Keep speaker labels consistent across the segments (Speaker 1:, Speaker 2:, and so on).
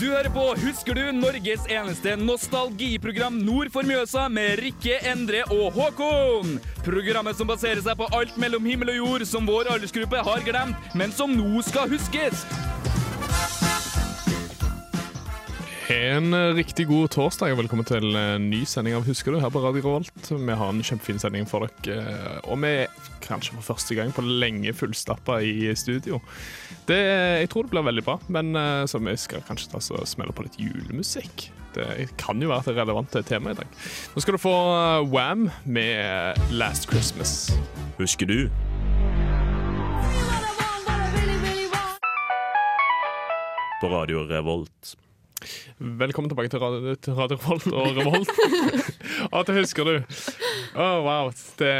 Speaker 1: Du hører på Husker du? Norges eneste nostalgiprogram nord for Mjøsa med Rikke, Endre og Håkon. Programmet som baserer seg på alt mellom himmel og jord som vår aldersgruppe har glemt, men som nå skal huskes.
Speaker 2: En eh, riktig god torsdag og velkommen til en ny sending av Husker du? her på Radio Revolt. Vi har en kjempefin sending for dere, eh, og vi er kanskje for første gang på lenge fullstappa i studio. Det, eh, jeg tror det blir veldig bra, men eh, så vi skal kanskje ta oss og smelle på litt julemusikk. Det kan jo være et relevant tema i dag. Nå skal du få eh, Wham med Last Christmas.
Speaker 3: Husker du? På Radio Revolt.
Speaker 2: Velkommen tilbake til Radio, til Radio Revolt og Revolt. Og det husker du. Å, wow. Det,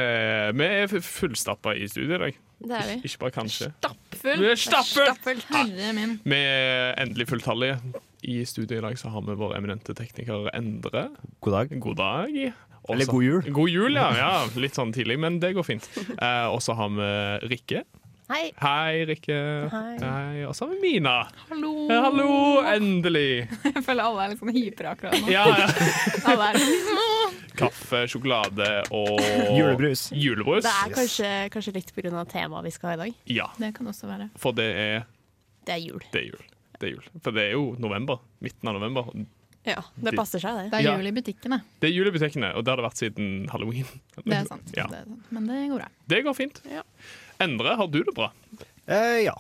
Speaker 2: vi er fullstappa i studio i dag.
Speaker 4: Det er vi.
Speaker 2: Ikke bare kanskje.
Speaker 4: Stappfull.
Speaker 2: Vi er stappfull!
Speaker 4: Herre min.
Speaker 2: Vi er endelig fulltallige. I studio i dag så har vi vår eminente tekniker Endre.
Speaker 5: God dag.
Speaker 2: God dag. Også-
Speaker 5: Eller god jul.
Speaker 2: God jul, ja. ja. Litt sånn tidlig, men det går fint. Eh, og så har vi Rikke.
Speaker 4: Hei.
Speaker 2: Hei, Rikke.
Speaker 4: Hei.
Speaker 2: Og så har vi Mina.
Speaker 6: Hallo.
Speaker 2: Eh, Hallo, endelig.
Speaker 6: Jeg føler alle er litt sånn hypre akkurat nå.
Speaker 2: Ja, ja.
Speaker 6: Alle er sånn,
Speaker 2: Kaffe, sjokolade og
Speaker 5: Julebrus.
Speaker 2: Julebrus.
Speaker 4: Det er kanskje, kanskje litt pga. temaet vi skal ha i dag.
Speaker 2: Ja,
Speaker 6: det kan også være.
Speaker 2: for det er,
Speaker 4: Det er jul.
Speaker 2: det er jul. Det er jul. For det er jo november. Midten av november.
Speaker 4: Ja, Det passer seg, det.
Speaker 6: Det er
Speaker 2: Ja.
Speaker 6: jul i butikkene,
Speaker 2: Det er jul i butikkene, og det har det vært siden halloween.
Speaker 6: det er sant.
Speaker 2: Ja.
Speaker 6: Det er sant. Men det går bra.
Speaker 2: Det går fint.
Speaker 4: Ja.
Speaker 2: Endre, har du det bra?
Speaker 5: Eh, ja.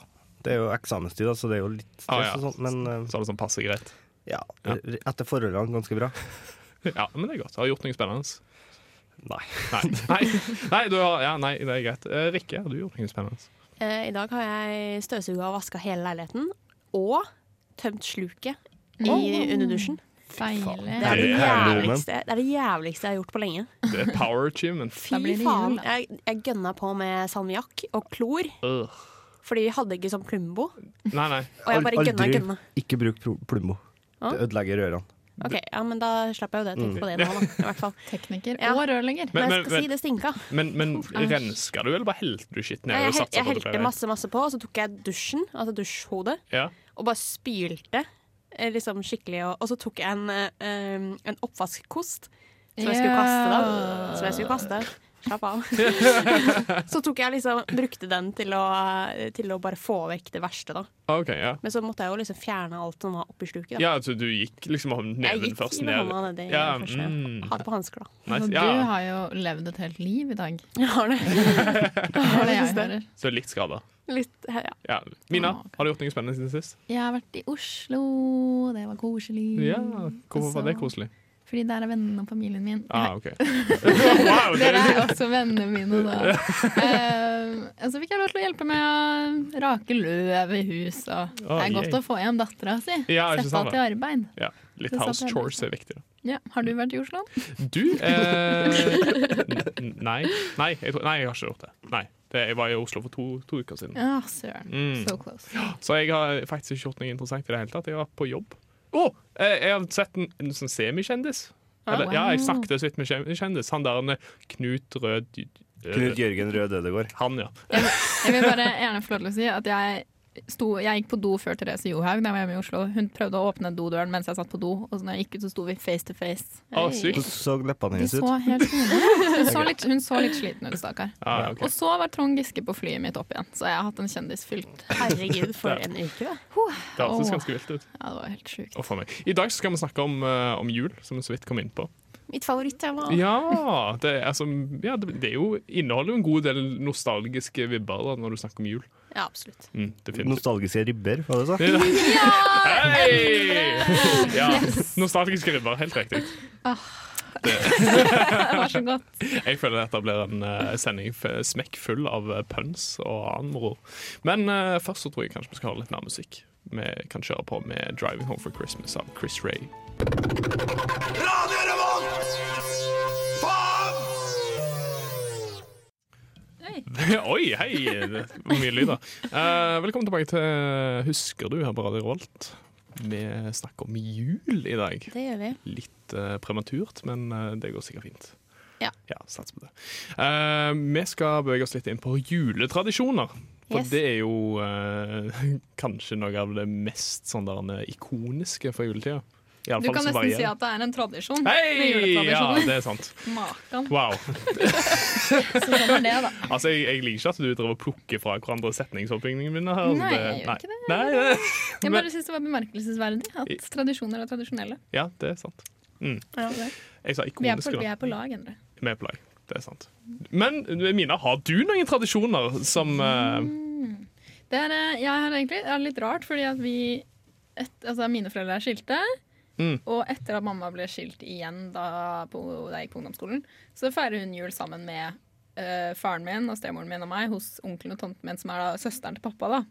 Speaker 5: Det er jo eksamenstid, da, så det er jo litt stress
Speaker 2: Ah, ja.
Speaker 5: og sånt, men eh,
Speaker 2: Så er det sånn passe greit.
Speaker 5: ja.
Speaker 2: Ja.
Speaker 5: r- Etter forholdene ganske bra.
Speaker 2: Ja, men det er godt. Har du gjort noe spennende?
Speaker 5: Nei.
Speaker 2: Nei, nei, nei, du har, ja, nei det er greit. Eh, Rikke, har du gjort noe spennende?
Speaker 4: Eh, I dag har jeg støvsuga og vaska hele leiligheten. Og tømt sluket i underdusjen.
Speaker 6: Deilig.
Speaker 4: Det er det,
Speaker 2: Det er
Speaker 5: herlig, men.
Speaker 4: jævligste, det er det jævligste jeg har gjort på lenge.
Speaker 2: Det er power achievement.
Speaker 6: Da
Speaker 4: Fy
Speaker 6: blir det
Speaker 4: faen.
Speaker 6: jul, da.
Speaker 4: Jeg, jeg gønna på med salmiakk og klor,
Speaker 2: Øh.
Speaker 4: fordi vi hadde ikke sånn plumbo.
Speaker 2: Nei, nei.
Speaker 4: Og jeg bare gønna og gønna.
Speaker 5: ikke bruk pro- Plumbo.
Speaker 4: Hå?
Speaker 5: Det ødelegger ørene.
Speaker 4: Ok, ja, Men da slapp jeg jo det. Tenk på det nå, da. I hvert fall.
Speaker 6: Tekniker
Speaker 4: Ja.
Speaker 6: og rørlegger.
Speaker 2: Mm. Men-
Speaker 4: Men
Speaker 2: men-
Speaker 4: jeg skal si det stinka.
Speaker 2: Men, men renska du, eller bare helte du skitt ned?
Speaker 4: Nei,
Speaker 2: og
Speaker 4: jeg, hel,
Speaker 2: satsa
Speaker 4: jeg
Speaker 2: på at det
Speaker 4: helte
Speaker 2: ble
Speaker 4: masse, masse på, og så tok jeg dusjen, altså dusjhodet,
Speaker 2: rent? Ja.
Speaker 4: og bare spylte eh, liksom skikkelig. Og, og så tok jeg en, eh, um, en oppvaskkost som jeg skulle kaste. da Som jeg skulle kaste. Slapp av. så tok jeg liksom, brukte den til å, til å bare få vekk det verste, da.
Speaker 2: OK, ja.
Speaker 4: Men så måtte jeg jo liksom fjerne alt som var oppi sluket. Da.
Speaker 2: Ja, altså du gikk liksom av
Speaker 4: jeg
Speaker 2: neven
Speaker 4: gikk
Speaker 2: først
Speaker 4: med
Speaker 2: ned.
Speaker 4: hånda nedi
Speaker 2: Ja,
Speaker 4: først. ja.
Speaker 2: mm.
Speaker 4: Hadde på hansker, da.
Speaker 2: Nice.
Speaker 6: Og du
Speaker 2: Ja,
Speaker 6: har jo levd et helt liv i dag.
Speaker 4: Jeg har det.
Speaker 6: Det er det jeg
Speaker 4: det.
Speaker 6: hører.
Speaker 2: så litt skada.
Speaker 4: Litt, ja.
Speaker 2: Ja. Mina,
Speaker 6: Ah, ok.
Speaker 2: har du gjort noe spennende siden sist?
Speaker 6: Jeg har vært i Oslo, det var koselig.
Speaker 2: Ja, Hvorfor var det koselig?
Speaker 6: Fordi der er vennene og familien min.
Speaker 2: Ah, ok. wow,
Speaker 6: Dere
Speaker 2: det,
Speaker 6: er også vennene mine, da. Eh, og så fikk jeg lov til å hjelpe med å rake løv i hus. Og. Det
Speaker 2: Å,
Speaker 6: er godt
Speaker 2: yay.
Speaker 6: å få igjen dattera si.
Speaker 2: Ja, ikke
Speaker 6: Sette
Speaker 2: sant
Speaker 6: henne til arbeid.
Speaker 2: ja, litt
Speaker 6: Det satte
Speaker 2: house
Speaker 6: jeg
Speaker 2: chores
Speaker 6: pris
Speaker 2: er viktig. da.
Speaker 6: Ja. Har du vært i Oslo?
Speaker 2: Du eh, n- Nei. Nei jeg, tror- nei, jeg har ikke gjort det. Nei, det. Jeg var i Oslo for to, to uker siden.
Speaker 6: Ja, søren.
Speaker 2: Mm.
Speaker 6: So close.
Speaker 2: Så jeg har faktisk ikke gjort noe interessant i det hele tatt. Jeg var på jobb. Å! eh, jeg har sett en, en sånn semikjendis. Eller,
Speaker 6: Ah,
Speaker 2: Ja, jeg
Speaker 6: wow.
Speaker 2: snakket så vidt med kjendis. Han der han er Knut Rød Eh,
Speaker 5: Knut Jørgen Rød Ødegård.
Speaker 2: Han, ja.
Speaker 6: Jeg vil bare gjerne få lov til å si at jeg, sto, jeg gikk på do før Therese Johaug da jeg var hjemme i Oslo. Hun prøvde å åpne dodøren mens jeg satt på do, og så når jeg gikk ut, så sto vi face to face.
Speaker 2: Å,
Speaker 5: Hvordan
Speaker 2: sykt.
Speaker 5: så
Speaker 6: De
Speaker 5: leppene hennes
Speaker 6: så
Speaker 5: ut?
Speaker 6: helt fine ut. Hun så litt, hun så litt sliten ut, stakkar.
Speaker 2: Ah, ok.
Speaker 6: Og så var Trond Giske på flyet mitt opp igjen, så jeg har hatt en kjendisfylt
Speaker 4: Herregud, for en uke, da.
Speaker 2: Det hørtes
Speaker 6: Åh.
Speaker 2: ganske vilt ut.
Speaker 6: Ja, det var helt sjukt.
Speaker 2: Og for meg. I dag skal vi snakke om, eh, om jul, som vi så vidt kom inn på.
Speaker 4: Mitt favorittema.
Speaker 2: Ja, det, er altså, ja, det, det er jo, inneholder jo en god del nostalgiske vibber da, når du snakker om jul.
Speaker 4: Ja, absolutt.
Speaker 2: Mm, definitivt.
Speaker 5: Nostalgiske ribber, var det så?
Speaker 2: Hei! Ja, nostalgiske vibber, helt riktig.
Speaker 6: Det var så godt.
Speaker 2: Jeg føler dette blir en eh, sending f- smekk full av eh, pønsk og annen moro. Men eh, først så tror jeg kanskje vi skal ha litt mer musikk. Vi kan kjøre på med 'Driving Home for Christmas' av Chris Ray.
Speaker 3: Radio Revolt!
Speaker 2: Oi, hei! Det var mye lyd, da. Eh, velkommen tilbake til Husker du her på Radio Revolt. Vi snakker om jul i dag.
Speaker 4: Det gjør vi.
Speaker 2: Litt eh, prematurt, men eh, det går sikkert fint.
Speaker 4: Ja.
Speaker 2: Sats på det. Eh, vi skal bevege oss litt inn på juletradisjoner. For
Speaker 6: Yes.
Speaker 2: det er jo eh, kanskje noe av det mest sånn der, eh, ikoniske fra juletida. I alle
Speaker 6: Du
Speaker 2: fall
Speaker 6: kan
Speaker 2: så
Speaker 6: nesten
Speaker 2: varierer
Speaker 6: si
Speaker 2: det.
Speaker 6: at det er en tradisjon. med
Speaker 2: Hei! Ja,
Speaker 6: juletradisjonen.
Speaker 2: det er sant.
Speaker 6: Makan.
Speaker 2: Wow.
Speaker 6: Så sånn er det, da.
Speaker 2: Altså, jeg, jeg liker ikke at du driver og plukker fra hverandre setningsoppbyggingene mine. her.
Speaker 6: Nei, jeg gjør ikke
Speaker 2: det.
Speaker 6: det.
Speaker 2: Nei, nei, nei.
Speaker 6: Jeg bare syns det var bemerkelsesverdig at tradisjoner er tradisjonelle.
Speaker 2: Ja, det er sant. Mm. Jeg sa
Speaker 6: Vi er på,
Speaker 2: ikoniske,
Speaker 6: vi
Speaker 2: da.
Speaker 6: er på lag, Endre.
Speaker 2: Vi er på lag. Det er sant. Men eh, Mina, har du noen tradisjoner som eh,
Speaker 6: Det er, eh, jeg har egentlig det er litt rart, fordi at vi et, altså Mine foreldre er skilte.
Speaker 2: Mm.
Speaker 6: Og etter at mamma ble skilt igjen da, på, da jeg gikk på ungdomsskolen, så feirer hun jul sammen med eh, faren min og stemoren min og meg hos onkelen og tanten min, som er da søsteren til pappa. da.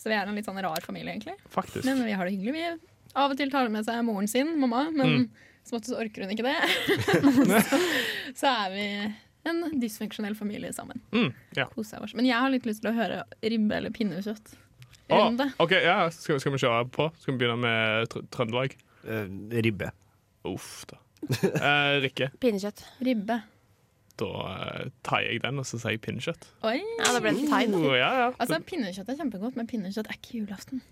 Speaker 6: Så vi er en litt sånn rar familie, egentlig.
Speaker 2: Faktisk.
Speaker 6: Men vi har det hyggelig. Vi av og til tar hun med seg moren sin, mamma, men
Speaker 2: Mm.
Speaker 6: som oftest orker hun ikke det. så, så er vi en dysfunksjonell familie sammen.
Speaker 2: Mm, ja.
Speaker 6: Koser oss. Men jeg har litt lyst til å høre ribbe eller pinnekjøtt.
Speaker 2: Å,
Speaker 6: Runde.
Speaker 2: Ah, ok, ja, skal, skal vi kjøre på? Skal vi begynne med tr Trøndelag?
Speaker 5: Eh, ribbe.
Speaker 2: Uff, da. Eh, Rikke,
Speaker 4: Pinnekjøtt.
Speaker 6: Ribbe.
Speaker 2: da eh, tar jeg den, og så sier jeg pinnekjøtt.
Speaker 6: Oi.
Speaker 4: Ja, da ble det thai. da.
Speaker 2: Oh, ja, ja.
Speaker 6: Altså, Pinnekjøtt er kjempegodt, men pinnekjøtt er ikke julaften.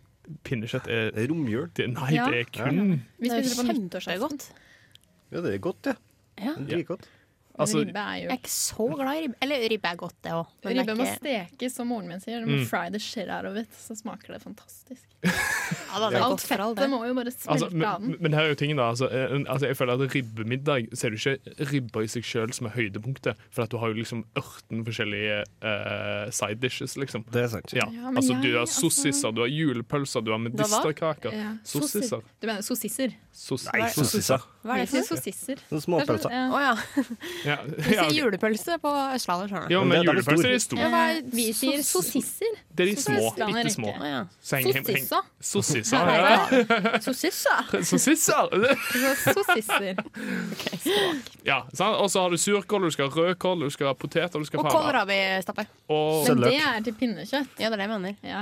Speaker 2: Pinnekjøtt er
Speaker 5: Eh, Romjul.
Speaker 2: det, Nei,
Speaker 6: Ja.
Speaker 2: det er kun
Speaker 6: Vi
Speaker 4: Det er
Speaker 6: spiser det på nyttårsaften.
Speaker 4: kjempegodt.
Speaker 5: Ja, det er godt, ja.
Speaker 4: Ja.
Speaker 5: Det er Dritgodt.
Speaker 2: Altså,
Speaker 6: ribbe er
Speaker 4: Jeg er
Speaker 6: jo
Speaker 4: ikke så glad i ribbe. Eller ribbe er godt, det òg.
Speaker 6: Ribbe må stekes, som moren min sier. Du
Speaker 2: Mm.
Speaker 6: må fry the shit out of it, så smaker det fantastisk. Alt fettet må jo bare
Speaker 2: altså,
Speaker 6: smelte av
Speaker 2: men,
Speaker 6: den.
Speaker 2: men her er jo tingen, da. Altså, eh, altså, jeg føler at ribbemiddag Så er det ikke ribba i seg sjøl som er høydepunktet, for at du har jo liksom 18 forskjellige eh, side dishes, liksom.
Speaker 5: Det er sant.
Speaker 2: Ja.
Speaker 6: Ja, men
Speaker 2: altså,
Speaker 6: jeg-
Speaker 2: du har
Speaker 6: altså-
Speaker 2: sossiser, du har julepølser, du har medisterkaker.
Speaker 6: Ja.
Speaker 2: Sossiser.
Speaker 6: Du mener sossisser?
Speaker 2: Sossis-
Speaker 5: Nei, sossiser.
Speaker 4: Hva er det
Speaker 6: Vi sier
Speaker 4: for noe?
Speaker 6: sossisser.
Speaker 5: Sånne
Speaker 6: Det er sånn,
Speaker 5: småpølser.
Speaker 6: ja.
Speaker 4: Å ja.
Speaker 2: Ja,
Speaker 4: Vi
Speaker 2: ja,
Speaker 4: sier
Speaker 2: ok.
Speaker 4: julepølse på Østlandet, skjønner du.
Speaker 2: ja, men
Speaker 5: Men det- det er
Speaker 2: julepølser
Speaker 5: stor.
Speaker 2: er de store.
Speaker 6: Ja, hva er- vi sier
Speaker 2: Soss-
Speaker 6: sossisser.
Speaker 2: Det er de
Speaker 6: Så
Speaker 2: små,
Speaker 6: Østlandet
Speaker 2: bitte små.
Speaker 6: rekker.
Speaker 4: Å ja.
Speaker 6: Sossissa.
Speaker 2: Sossisser. Ja.
Speaker 6: Nei, Sossissa.
Speaker 2: Sossisser!
Speaker 6: Sossisser.
Speaker 2: Ja, sant? Og så har du surkål, du skal ha rødkål, du skal ha poteter du skal
Speaker 4: Og
Speaker 2: faen-
Speaker 4: kålrabistappe.
Speaker 2: Og
Speaker 6: Men
Speaker 5: Søløk.
Speaker 6: det er til pinnekjøtt.
Speaker 4: Ja, det er det jeg mener.
Speaker 6: Ja.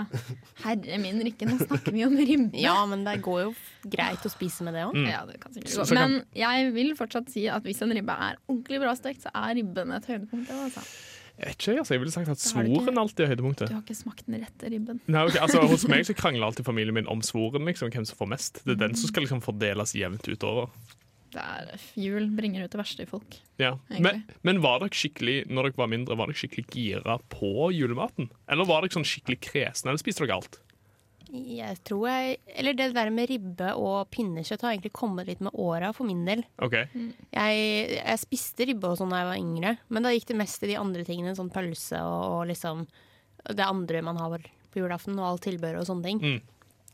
Speaker 6: Herre min rikke, nå snakker vi om ribbe.
Speaker 4: Ja, men det går jo greit å spise med det òg.
Speaker 6: Ja, det kan sikkert
Speaker 2: Så-
Speaker 6: gå.
Speaker 2: så kan-
Speaker 6: Men jeg vil fortsatt si at hvis en ribbe er ordentlig bra stekt, så er ribben et høydepunkt. det, Altså.
Speaker 2: Jeg vet ikke, altså, jeg ville sagt at
Speaker 6: har du ikke-
Speaker 2: svoren alltid er høydepunktet.
Speaker 6: Du har ikke smakt den rette ribben.
Speaker 2: Nei, ok, altså Hos meg så krangler alltid familien min om svoren, liksom, hvem som får mest. Det er den som skal liksom fordeles jevnt utover.
Speaker 6: Det er Jul bringer ut det verste i folk.
Speaker 2: Ja. Men,
Speaker 6: Egentlig.
Speaker 2: men var dere skikkelig når dere var mindre, var dere skikkelig gira på julematen? Eller var dere sånn skikkelig kresne, eller spiste dere alt?
Speaker 4: Jeg tror jeg Eller det der med ribbe og pinnekjøtt har egentlig kommet litt med åra, for min del.
Speaker 2: Ok,
Speaker 6: Mm.
Speaker 4: Jeg, jeg spiste ribbe og sånn da jeg var yngre, men da gikk det mest i de andre tingene, sånn pølse og, og liksom det andre man har på julaften, og alt tilbehøret og sånne ting.
Speaker 2: Mm.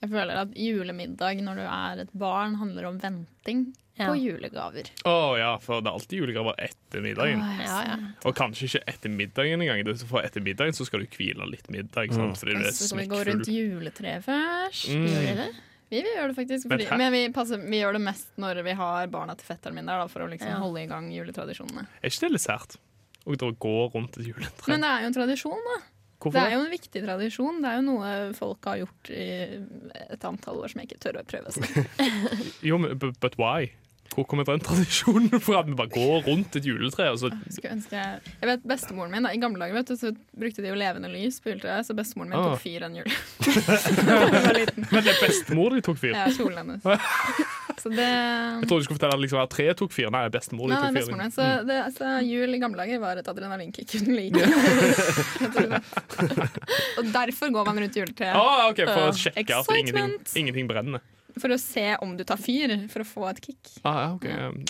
Speaker 6: Jeg føler at julemiddag når du er et barn, handler om venting
Speaker 4: Ja.
Speaker 6: på julegaver.
Speaker 2: Å ja, for det er alltid julegraver etter middagen.
Speaker 4: Ja, ja.
Speaker 2: Og kanskje ikke etter middagen engang. Det- For etter middagen så skal du hvile litt middag. Sant? Fordi du er
Speaker 6: Så skal vi gå
Speaker 2: smekkfull.
Speaker 6: rundt
Speaker 2: Mm.
Speaker 6: juletreet først.
Speaker 4: Gjør jeg det?
Speaker 6: Vi, vi gjør det faktisk,
Speaker 2: Men
Speaker 6: fordi,
Speaker 2: hæ?
Speaker 6: men vi, passer, vi gjør det mest når vi har barna til fetteren min der, da, for å liksom
Speaker 4: Ja.
Speaker 6: holde i gang juletradisjonene.
Speaker 2: Er ikke det litt sært? Å dra- gå rundt et juletre?
Speaker 6: Men det er jo en tradisjon, da.
Speaker 2: Hvorfor
Speaker 6: Det er
Speaker 2: det?
Speaker 6: jo en viktig tradisjon. Det er jo noe folk har gjort i et antall år som jeg ikke tør å prøve. Så.
Speaker 2: Jo, men but, but why? Hvor kommer den tradisjonen fra? At vi bare går rundt et juletre? Og så
Speaker 6: Skulle ønske jeg... jeg vet bestemoren min, da, I gamle dager vet du, så brukte de jo levende lys på juletreet, så bestemoren min
Speaker 2: Ah.
Speaker 6: tok fyr en jul. Da hun var liten.
Speaker 2: Men det er bestemor de tok fyr.
Speaker 6: Ja, kjolen hennes. Så det
Speaker 2: Jeg trodde du skulle fortelle at liksom, at treet tok fyr. Nei, bestemor de
Speaker 6: Nei,
Speaker 2: tok
Speaker 6: nei,
Speaker 2: fyr.
Speaker 6: bestemoren min. Så det, altså, jul i gamle dager var et adrenalinkick uten like. Rett og slett. og derfor går man rundt juletreet.
Speaker 2: Ah, ok, For å
Speaker 6: Ja.
Speaker 2: sjekke at
Speaker 6: Excitement.
Speaker 2: ingenting, ingenting brenner.
Speaker 6: For å se om du tar fyr, for å få et kick.
Speaker 2: Ah, ja, ok.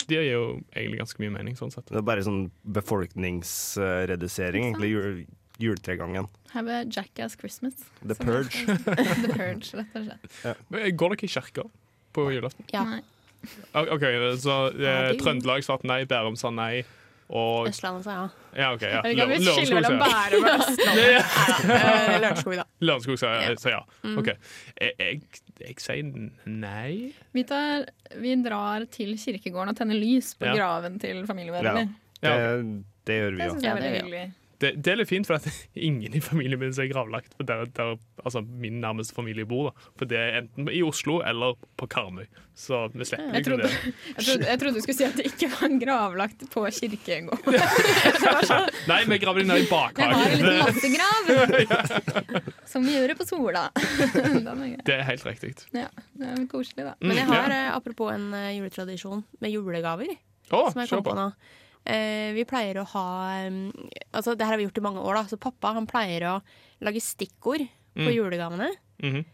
Speaker 2: Det gir jo egentlig ganske mye mening. sånn sett
Speaker 5: Det er bare sånn befolkningsredusering, egentlig. Jul, juletregangen.
Speaker 6: Have a jackass Christmas.
Speaker 5: The Purge.
Speaker 6: The Purge, rett og slett.
Speaker 2: Men Går dere i kirka på julaften?
Speaker 4: Ja.
Speaker 6: Nei.
Speaker 2: Ah, OK, så eh,
Speaker 4: Ja, det gjorde-
Speaker 2: Trøndelag svarte nei, Bærum sa nei. Og
Speaker 4: Østlandet, sa ja.
Speaker 2: Ja, ok, ja.
Speaker 6: Jeg vet ikke om vi
Speaker 2: Lø-
Speaker 6: skiller
Speaker 2: Lørenskog
Speaker 6: mellom
Speaker 2: sa ja.
Speaker 6: Bærum og Østlandet.
Speaker 4: Eh, Lørenskog, da.
Speaker 2: Lørenskog sa ja. sa ja.
Speaker 6: Mm.
Speaker 2: OK. Jeg, jeg, jeg sier nei.
Speaker 6: Vi, tar, vi drar til kirkegården og tenner lys på
Speaker 2: Ja.
Speaker 6: graven til familiemedlemmer.
Speaker 5: Det,
Speaker 2: Ja,
Speaker 5: det gjør vi
Speaker 6: Det
Speaker 5: jo.
Speaker 4: Ja, det
Speaker 6: syns jeg er veldig
Speaker 4: gjør
Speaker 6: hyggelig.
Speaker 2: Det, det er litt fint, for at ingen i familien min som er gravlagt på der, der altså min nærmeste familie bor. da. For det er enten i Oslo eller på Karmøy. Så vi slipper
Speaker 6: Jeg
Speaker 2: ikke
Speaker 6: trodde,
Speaker 2: det.
Speaker 6: jeg, trodde, jeg trodde du skulle si at det ikke var en gravlagt på kirkegården.
Speaker 2: Nei, vi graver dem ned i
Speaker 6: Det var en
Speaker 2: bakhagen.
Speaker 6: liten massegrav! Som vi gjør på Sola. Den er grei.
Speaker 2: Det er helt riktig.
Speaker 6: Ja, det er koselig, da.
Speaker 4: Men jeg har,
Speaker 2: Mm, ja.
Speaker 4: eh, apropos en eh, juletradisjon med julegaver,
Speaker 2: Å,
Speaker 4: som jeg
Speaker 2: kjør
Speaker 4: kom på
Speaker 2: på.
Speaker 4: nå. Eh, vi pleier å ha mm, Altså, det her har vi gjort i mange år, da. Så pappa han pleier å lage stikkord på
Speaker 2: Mm.
Speaker 4: julegavene.
Speaker 2: Mhm.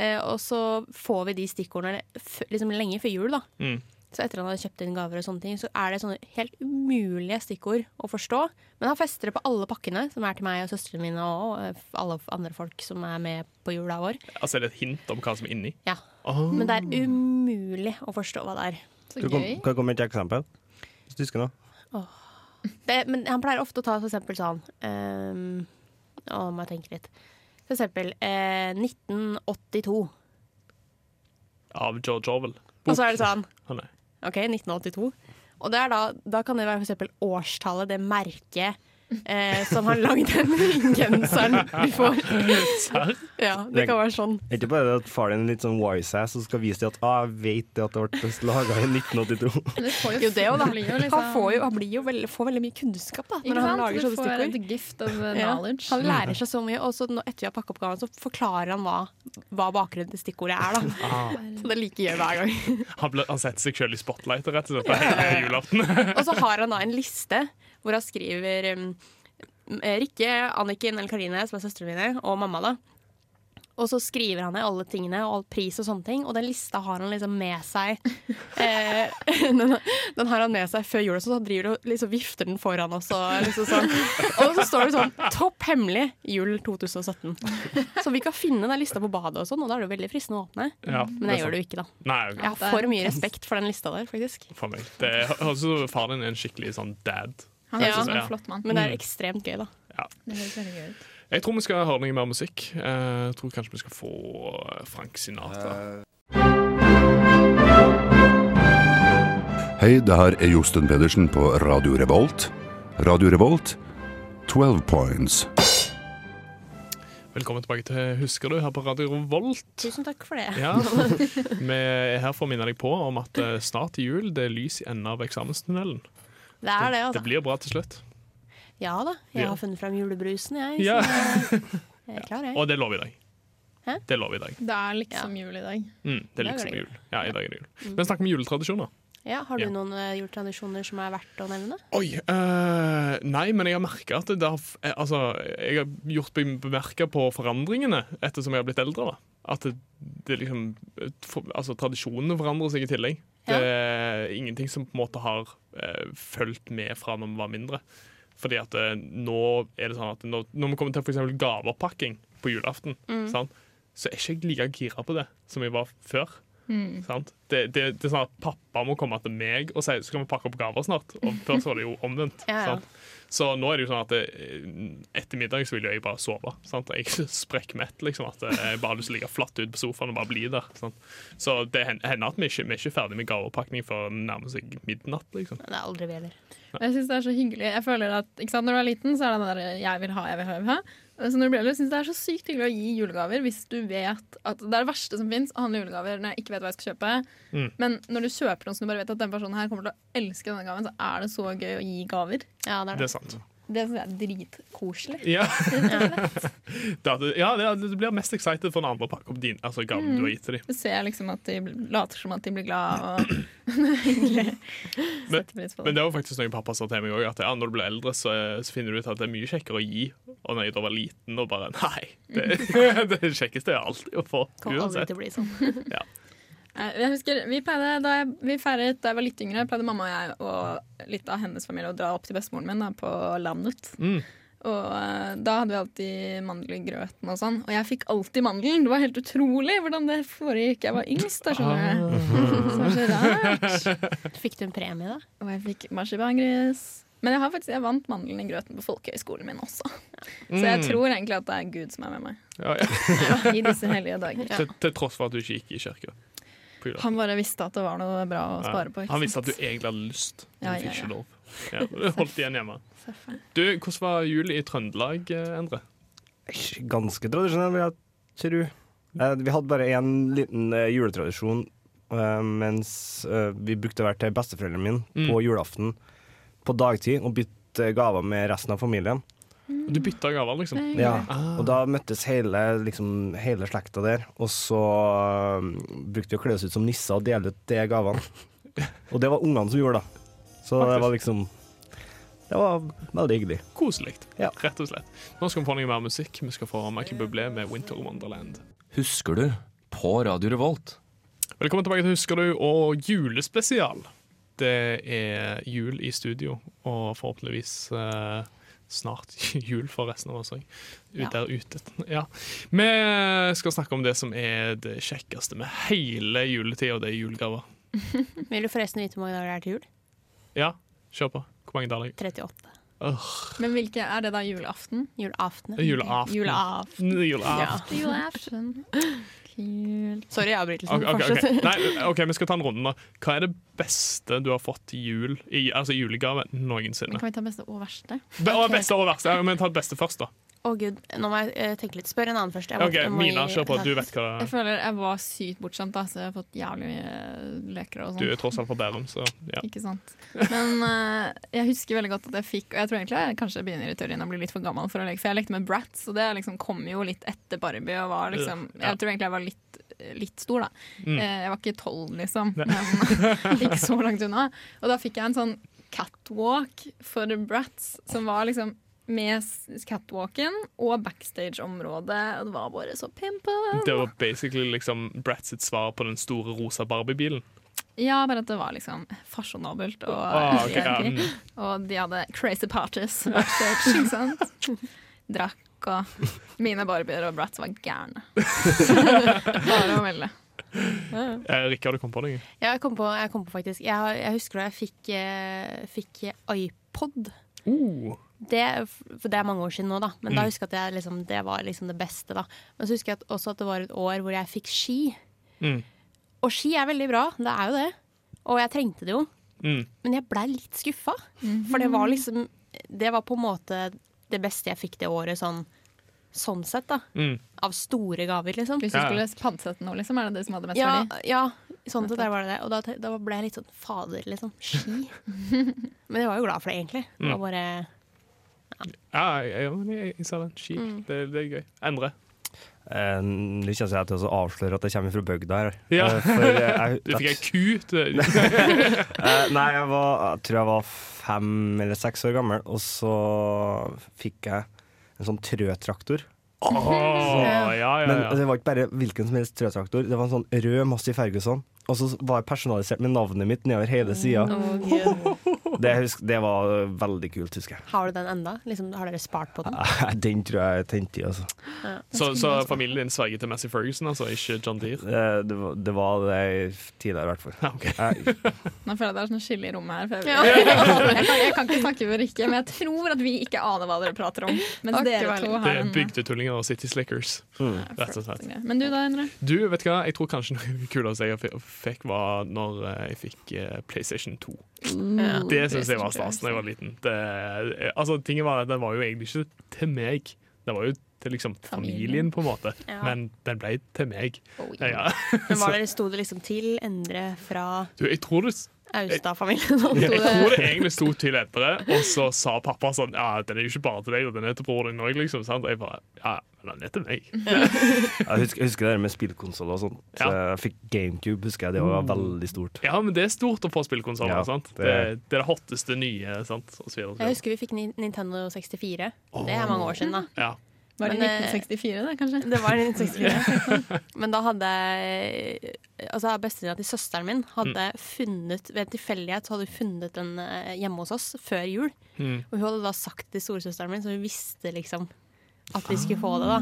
Speaker 4: Eh, og så får vi de stikkordene f liksom lenge før jul, da.
Speaker 2: Mm.
Speaker 4: Så etter han hadde kjøpt inn gaver, og sånne ting, så er det sånne helt umulige stikkord å forstå. Men han fester det på alle pakkene, som er til meg og søstrene mine og eh, alle andre folk som er med på jula vår.
Speaker 2: Altså, er det et hint om hva som er inni?
Speaker 4: Ja.
Speaker 2: Å.
Speaker 4: Men det
Speaker 2: Mm.
Speaker 4: er umulig å forstå hva det er.
Speaker 6: Så
Speaker 5: Du kom,
Speaker 6: gøy.
Speaker 5: kan komme med et eksempel? Hvis du husker noe.
Speaker 4: det, men han pleier ofte å ta for eksempel sånn ehm, Å, må jeg tenke litt. For eksempel eh, 1982.
Speaker 2: Av George Orwell.
Speaker 4: Og så er det sånn
Speaker 2: Å, nei.
Speaker 4: OK, 1982. Og det er da, da kan det være for eksempel årstallet, det merket eh, som han lagde den genseren du får.
Speaker 2: Serr?
Speaker 4: Ja, det kan være sånn.
Speaker 5: Er ikke bare det at far din er litt sånn wise-ass og skal vise til at ah, 'jeg vet det at det ble laga i 1982'.
Speaker 6: Men Du får
Speaker 4: Jo, det òg, da.
Speaker 6: blir jo liksom-
Speaker 4: Han, får jo, han blir jo veldig, får veldig mye kunnskap da,
Speaker 6: Ikke
Speaker 4: når han
Speaker 6: sant?
Speaker 4: lager
Speaker 6: Du
Speaker 4: sånne
Speaker 6: får
Speaker 4: stikkord.
Speaker 6: et gift of uh,
Speaker 4: Ja.
Speaker 6: knowledge.
Speaker 4: Han lærer seg så mye, og så nå- etter vi har pakket opp gaven, så forklarer han hva, hva bakgrunnen til stikkordet er. da. Så det er like gøy hver gang.
Speaker 2: Han, ble, han setter seg selv i spotlightet rett og slett på hele julaften.
Speaker 4: Og så har han da en liste hvor han skriver um, eh, Rikke, Anniken eller Karine, som er søstrene mine, og mamma, da. Og så skriver han ned alle tingene og all pris og sånne ting, og den lista har han liksom med seg. Eh, den, den har han med seg før jul, så han driver og liksom vifter den foran oss. Og, liksom sånn. og så står det sånn 'Topp hemmelig jul 2017'. Så vi kan finne den lista på badet, og sånn, og da er det jo veldig fristende å åpne.
Speaker 2: Ja,
Speaker 4: Men jeg gjør det jo ikke, da.
Speaker 2: Nei,
Speaker 4: Jeg har for mye respekt for den lista der, faktisk.
Speaker 2: for meg. Det høres ut som faren din er en skikkelig sånn dad.
Speaker 6: Han er
Speaker 4: Ja.
Speaker 6: også
Speaker 2: Ja.
Speaker 6: en flott mann.
Speaker 4: Men det er ekstremt gøy, da.
Speaker 6: Det høres veldig gøy ut.
Speaker 2: Jeg tror vi skal høre noe mer musikk. Eh, Jeg tror kanskje vi skal få eh, Frank Sinatra.
Speaker 7: Hei, det her er Josten Pedersen på Radio Revolt. Radio Revolt, 12 points.
Speaker 2: Velkommen tilbake til Husker du? her på Radio Revolt.
Speaker 4: Tusen takk for det.
Speaker 2: Ja. Vi er her for å minne deg på om at eh, snart til jul det er lys i enden av eksamenstunnelen.
Speaker 4: Det er det,
Speaker 2: Det
Speaker 4: altså.
Speaker 2: blir bra til slutt.
Speaker 4: Ja da. Jeg
Speaker 2: Ja.
Speaker 4: har funnet fram julebrusen, jeg.
Speaker 2: Ja.
Speaker 4: Så jeg er klar, jeg.
Speaker 2: Og det lover i dag.
Speaker 4: Hæ?
Speaker 2: Det lover i dag.
Speaker 6: Det er liksom jul i dag.
Speaker 2: Mm, det er
Speaker 4: I dag er
Speaker 2: liksom
Speaker 4: det
Speaker 2: jul. Ja, i dag er det jul. Men snakk om juletradisjoner.
Speaker 4: Ja, har du
Speaker 2: Ja.
Speaker 4: noen eh, juletradisjoner som er verdt å nevne?
Speaker 2: Oi eh, Nei, men jeg har merka at det har, f- eh, altså, Jeg har gjort be- bemerka på forandringene ettersom jeg har blitt eldre. da At det, det liksom eh, for, Altså, tradisjonene forandrer seg i tillegg. Det er ingenting som på en måte har eh, fulgt med fra når vi var mindre. Fordi at eh, nå er det sånn at når, når vi kommer til for eksempel gaveoppakking på julaften,
Speaker 4: Mm.
Speaker 2: sant? så er ikke jeg like gira på det som jeg var før.
Speaker 4: Mm.
Speaker 2: Sant? Det, det, det er sånn at pappa må komme til meg og si skal vi pakke opp gaver snart. Og før så var det jo omvendt.
Speaker 4: Ja, ja.
Speaker 2: Sant? Så nå er det jo sånn at det, etter middag så vil jo jeg bare sove. Sant? Jeg er sprekkmett, liksom. At jeg bare har lyst til å ligge flatt ut på sofaen og bare bli der. Sant? Så det hen- hender at vi ikke, vi er ikke ferdig med gaveoppakning før det nærmer seg midnatt. Liksom.
Speaker 4: Det er aldri vi heller.
Speaker 6: Jeg synes det er så hyggelig. Jeg føler at ikke sant, Når du er liten, så er det den der 'jeg vil ha, jeg vil ha'. jeg vil ha. Så når du blir eldre, synes jeg det er så sykt hyggelig å gi julegaver hvis du vet at det er det verste som fins, å handle julegaver når jeg ikke vet hva jeg skal kjøpe.
Speaker 2: Mm.
Speaker 6: Men når du kjøper noe som du bare vet at den personen her kommer til å elske denne gaven, så er det så gøy å gi gaver.
Speaker 4: Ja, det
Speaker 2: Det
Speaker 4: er det.
Speaker 2: er sant.
Speaker 6: Det synes jeg er dritkoselig.
Speaker 2: Ja, det, er at- ja det, er- du blir mest excited for den andre pakke opp din, altså gaven du har gitt til dem.
Speaker 6: Du ser liksom at de bl- later som at de blir glad og Det er hyggelig. Setter pris på
Speaker 2: Men
Speaker 6: det.
Speaker 2: det var faktisk noe pappa sa til meg òg, at ja, når du blir eldre, så, så finner du ut at det er mye kjekkere å gi. Og når jeg da var liten, og bare Nei! Det, det kjekkeste er alltid å få.
Speaker 4: Kommer aldri
Speaker 2: Uansett.
Speaker 4: til å bli sånn.
Speaker 6: Eh, Jeg husker, vi, pleide, da jeg, vi feiret da jeg var litt yngre, pleide mamma og jeg og litt av hennes familie å dra opp til bestemoren min da, på landet.
Speaker 2: Mm.
Speaker 6: Og eh, da hadde vi alltid mandel i grøten og sånn. Og jeg fikk alltid mandelen! Det var helt utrolig hvordan det foregikk. Jeg var yngst, da,
Speaker 2: Ah.
Speaker 6: skjønner du. Så det var så rart.
Speaker 4: Fikk du en premie, da?
Speaker 6: Og jeg fikk marsipangris. Men jeg, har faktisk, jeg vant mandelen i grøten på folkehøyskolen min også. Så jeg tror egentlig at det er Gud som er med meg
Speaker 2: Mm. Ja, ja.
Speaker 6: i disse hellige dager.
Speaker 2: Til, til tross for at du ikke gikk i kirka. På julaften.
Speaker 6: Han bare visste at det var noe bra å spare på.
Speaker 2: Ja.
Speaker 6: ikke
Speaker 2: Han visste at
Speaker 6: sant?
Speaker 2: du egentlig hadde lyst, men du
Speaker 6: Ja,
Speaker 2: fikk
Speaker 6: ja,
Speaker 2: ikke
Speaker 6: ja.
Speaker 2: lov. Ja, og det holdt igjen hjemme. Du, Hvordan var jul i Trøndelag, eh, Endre?
Speaker 5: Ganske tradisjonell, vil jeg tro. Eh, Vi hadde bare én liten eh, juletradisjon eh, mens eh, vi brukte å være til besteforeldrene mine på julaften på dagtid og bytte gaver med resten av familien.
Speaker 6: Mm.
Speaker 2: Du bytta gaver, liksom?
Speaker 5: Ja. Og da møttes hele, liksom, hele slekta der, og så eh, brukte vi å kle oss ut som nisser og dele ut de gavene. Og det var ungene som gjorde det. Så det var liksom Det var veldig hyggelig.
Speaker 2: Koselig,
Speaker 5: Ja.
Speaker 2: rett og slett. Nå skal vi få noe mer musikk. Vi skal få Michael Bublé med 'Winter Wonderland'.
Speaker 8: Husker du? På Radio Revolt.
Speaker 2: Velkommen tilbake til Husker du og julespesial. Det er jul i studio, og forhåpentligvis eh, snart jul for resten av oss òg.
Speaker 6: Ja.
Speaker 2: Der ute. Ja. Vi skal snakke om det som er det kjekkeste med hele juletida, og det er julegaver.
Speaker 4: Vil du forresten vite hvor mange dager det er til jul?
Speaker 2: Ja, kjør på. Hvor mange dager?
Speaker 4: 38.
Speaker 6: Men hvilke er det da julaften?
Speaker 4: Julaften.
Speaker 2: Det er Julaften.
Speaker 4: Julaften.
Speaker 2: Julaften.
Speaker 6: Julaften. Kult.
Speaker 4: Sorry, avbrytelsen.
Speaker 2: Ok, ok, ok.
Speaker 4: Fortsett.
Speaker 2: Nei, ok, Vi skal ta en runde. da Hva er det beste du har fått i jul i, Altså i julegave noensinne?
Speaker 6: Men kan vi ta beste og verste?
Speaker 2: Det var beste og verste. Ja, men ta det beste først, da.
Speaker 4: Å gud, nå må jeg eh, tenke litt. Spør en annen først. Jeg må-
Speaker 2: Ok,
Speaker 4: jeg må i-
Speaker 2: Mina, kjør på. Du vet hva
Speaker 6: Jeg føler jeg var sykt bortskjemt, da, så jeg har fått jævlig mye leker og
Speaker 2: Du
Speaker 6: sånn.
Speaker 2: er tross alt fra Bærum, så ja.
Speaker 6: Ikke sant. Men eh, jeg husker veldig godt at jeg fikk Og jeg tror egentlig jeg kanskje begynner i teorien å bli litt for gammel for å leke, for jeg lekte med Bratz, og det liksom kom jo litt etter Barbie og var liksom
Speaker 2: Ja.
Speaker 6: Jeg tror egentlig jeg var litt, litt stor, da.
Speaker 2: Mm.
Speaker 6: Eh, Jeg var ikke tolv, liksom,
Speaker 2: Nei.
Speaker 6: men ikke så langt unna. Og da fikk jeg en sånn catwalk for Bratz, som var liksom med s- catwalken og backstage-området, og det var bare så pimpa.
Speaker 2: Det var basically liksom Bratz sitt svar på den store rosa Barbie-bilen.
Speaker 6: Ja, bare at det var liksom fasjonabelt og
Speaker 2: Ah, ok, ja,
Speaker 6: jerky.
Speaker 2: mm.
Speaker 6: Og de hadde crazy parties backstage, ikke sant? Drakk og Mine barbier og Bratz var gærne. Bare å melde.
Speaker 2: Eh, Rikard, du kom på noe?
Speaker 4: Ja, jeg kom på, jeg kom på faktisk. Jeg, har- jeg husker da jeg fikk, eh, fikk iPod.
Speaker 2: Oh.
Speaker 4: Det, er f- for det er mange år siden nå, da. Men
Speaker 2: Mm.
Speaker 4: da husker jeg at jeg, liksom, det var liksom det beste. da Men så husker jeg at, også at det var et år hvor jeg fikk ski.
Speaker 2: Mm.
Speaker 4: Og ski er veldig bra, det er jo det. Og jeg trengte det jo.
Speaker 2: Mm.
Speaker 4: Men jeg blei litt skuffa. For det var liksom Det var på en måte det beste jeg fikk det året, sånn, sånn sett, da.
Speaker 2: Mm.
Speaker 4: Av store gaver, liksom.
Speaker 6: Hvis du
Speaker 2: Ja.
Speaker 6: skulle pantsette noe, liksom, er det det som hadde mest
Speaker 4: Ja,
Speaker 6: verdi?
Speaker 4: ja sånn sett der var det det. Og da, te- da ble jeg litt sånn fader, liksom. Ski. Men jeg var jo glad for det, egentlig. Det
Speaker 2: Mm.
Speaker 4: var bare
Speaker 2: Ja, jeg, jeg, jeg, jeg sa det. Ski. Det, det er gøy. Endre.
Speaker 5: Eh, Nå kjenner jeg til å avsløre at jeg kommer fra bygda her.
Speaker 2: Ja.
Speaker 5: Eh, for jeg-
Speaker 2: Du fikk ei ku til
Speaker 5: Eh, nei, jeg, var, jeg tror jeg var fem eller seks år gammel, og så fikk jeg en sånn trøtraktor.
Speaker 2: Å, ja, ja,
Speaker 5: Men altså, eh,
Speaker 2: ja.
Speaker 5: det var ikke bare hvilken som helst trøtraktor, det var en sånn rød Massey Ferguson. Og så var jeg personalisert med navnet mitt nedover hele sida.
Speaker 4: oh,
Speaker 2: Mm.
Speaker 5: Det, husk- det var veldig kult, husker jeg.
Speaker 4: Har du den enda? Liksom, har dere spart på den?
Speaker 2: Mm.
Speaker 5: Den tror jeg tente i, altså.
Speaker 2: Så, så familien din sverger til Massey Ferguson, altså, ikke John Deere?
Speaker 5: Eh, Det, var- det var det tidligere, i hvert fall.
Speaker 2: Ja, ok.
Speaker 5: Jeg-
Speaker 6: Nå føler jeg det er sånn skille i rommet her. For jeg, jeg, kan, jeg kan ikke snakke for Rikke, men jeg tror at vi ikke aner hva dere prater om. Mens
Speaker 4: Ok,
Speaker 6: dere to
Speaker 4: vel.
Speaker 2: Det
Speaker 6: har
Speaker 2: er
Speaker 6: en
Speaker 2: bygdetullinger og City Slickers.
Speaker 5: mm.
Speaker 2: Rett og slett.
Speaker 6: Men du da, Endre?
Speaker 2: Du, vet du hva? Jeg tror kanskje noe kuleste jeg f- fikk, var når eh, jeg fikk eh, PlayStation 2. Det syns jeg var stas da jeg var liten. Det, eh, altså, tingen var at Den var jo egentlig ikke til meg, den var jo til liksom familien, på en måte.
Speaker 4: Ja.
Speaker 2: Men den ble til meg.
Speaker 6: Oh, ja.
Speaker 2: Ja.
Speaker 4: Men var det, Sto det liksom til Endre fra
Speaker 2: Du, jeg tror det s-
Speaker 4: Austad-familien?
Speaker 2: jeg tror det egentlig sto til etter det, og så sa pappa sånn Ja, den er jo ikke bare til deg, og den er til broren din òg, liksom. Sant? Og jeg bare Ja, men den er til meg.
Speaker 5: Jeg husker, jeg husker det der med spillkonsoller og sånt.
Speaker 2: Ja. Mm.
Speaker 5: Jeg fikk GameCube, husker jeg. Det var veldig stort.
Speaker 2: Ja, men det er stort å få spillkonsoller,
Speaker 5: Ja,
Speaker 2: sant.
Speaker 5: det-
Speaker 2: Det, det er det hotteste nye, sant. Og så videre, og så
Speaker 4: Jeg
Speaker 2: videre.
Speaker 4: husker vi fikk Ni- Nintendo 64. Det er mange år siden, da.
Speaker 2: Ja.
Speaker 6: Var det
Speaker 4: Men, eh,
Speaker 6: 1964, det, kanskje?
Speaker 4: Det var en Men da hadde altså bestevenninna til søsteren min
Speaker 2: Mm.
Speaker 4: hadde funnet ved en tilfeldighet så hadde hun funnet den eh, hjemme hos oss før jul.
Speaker 2: Mm.
Speaker 4: Og hun hadde da sagt til storesøsteren min, så hun visste liksom at vi skulle få det. da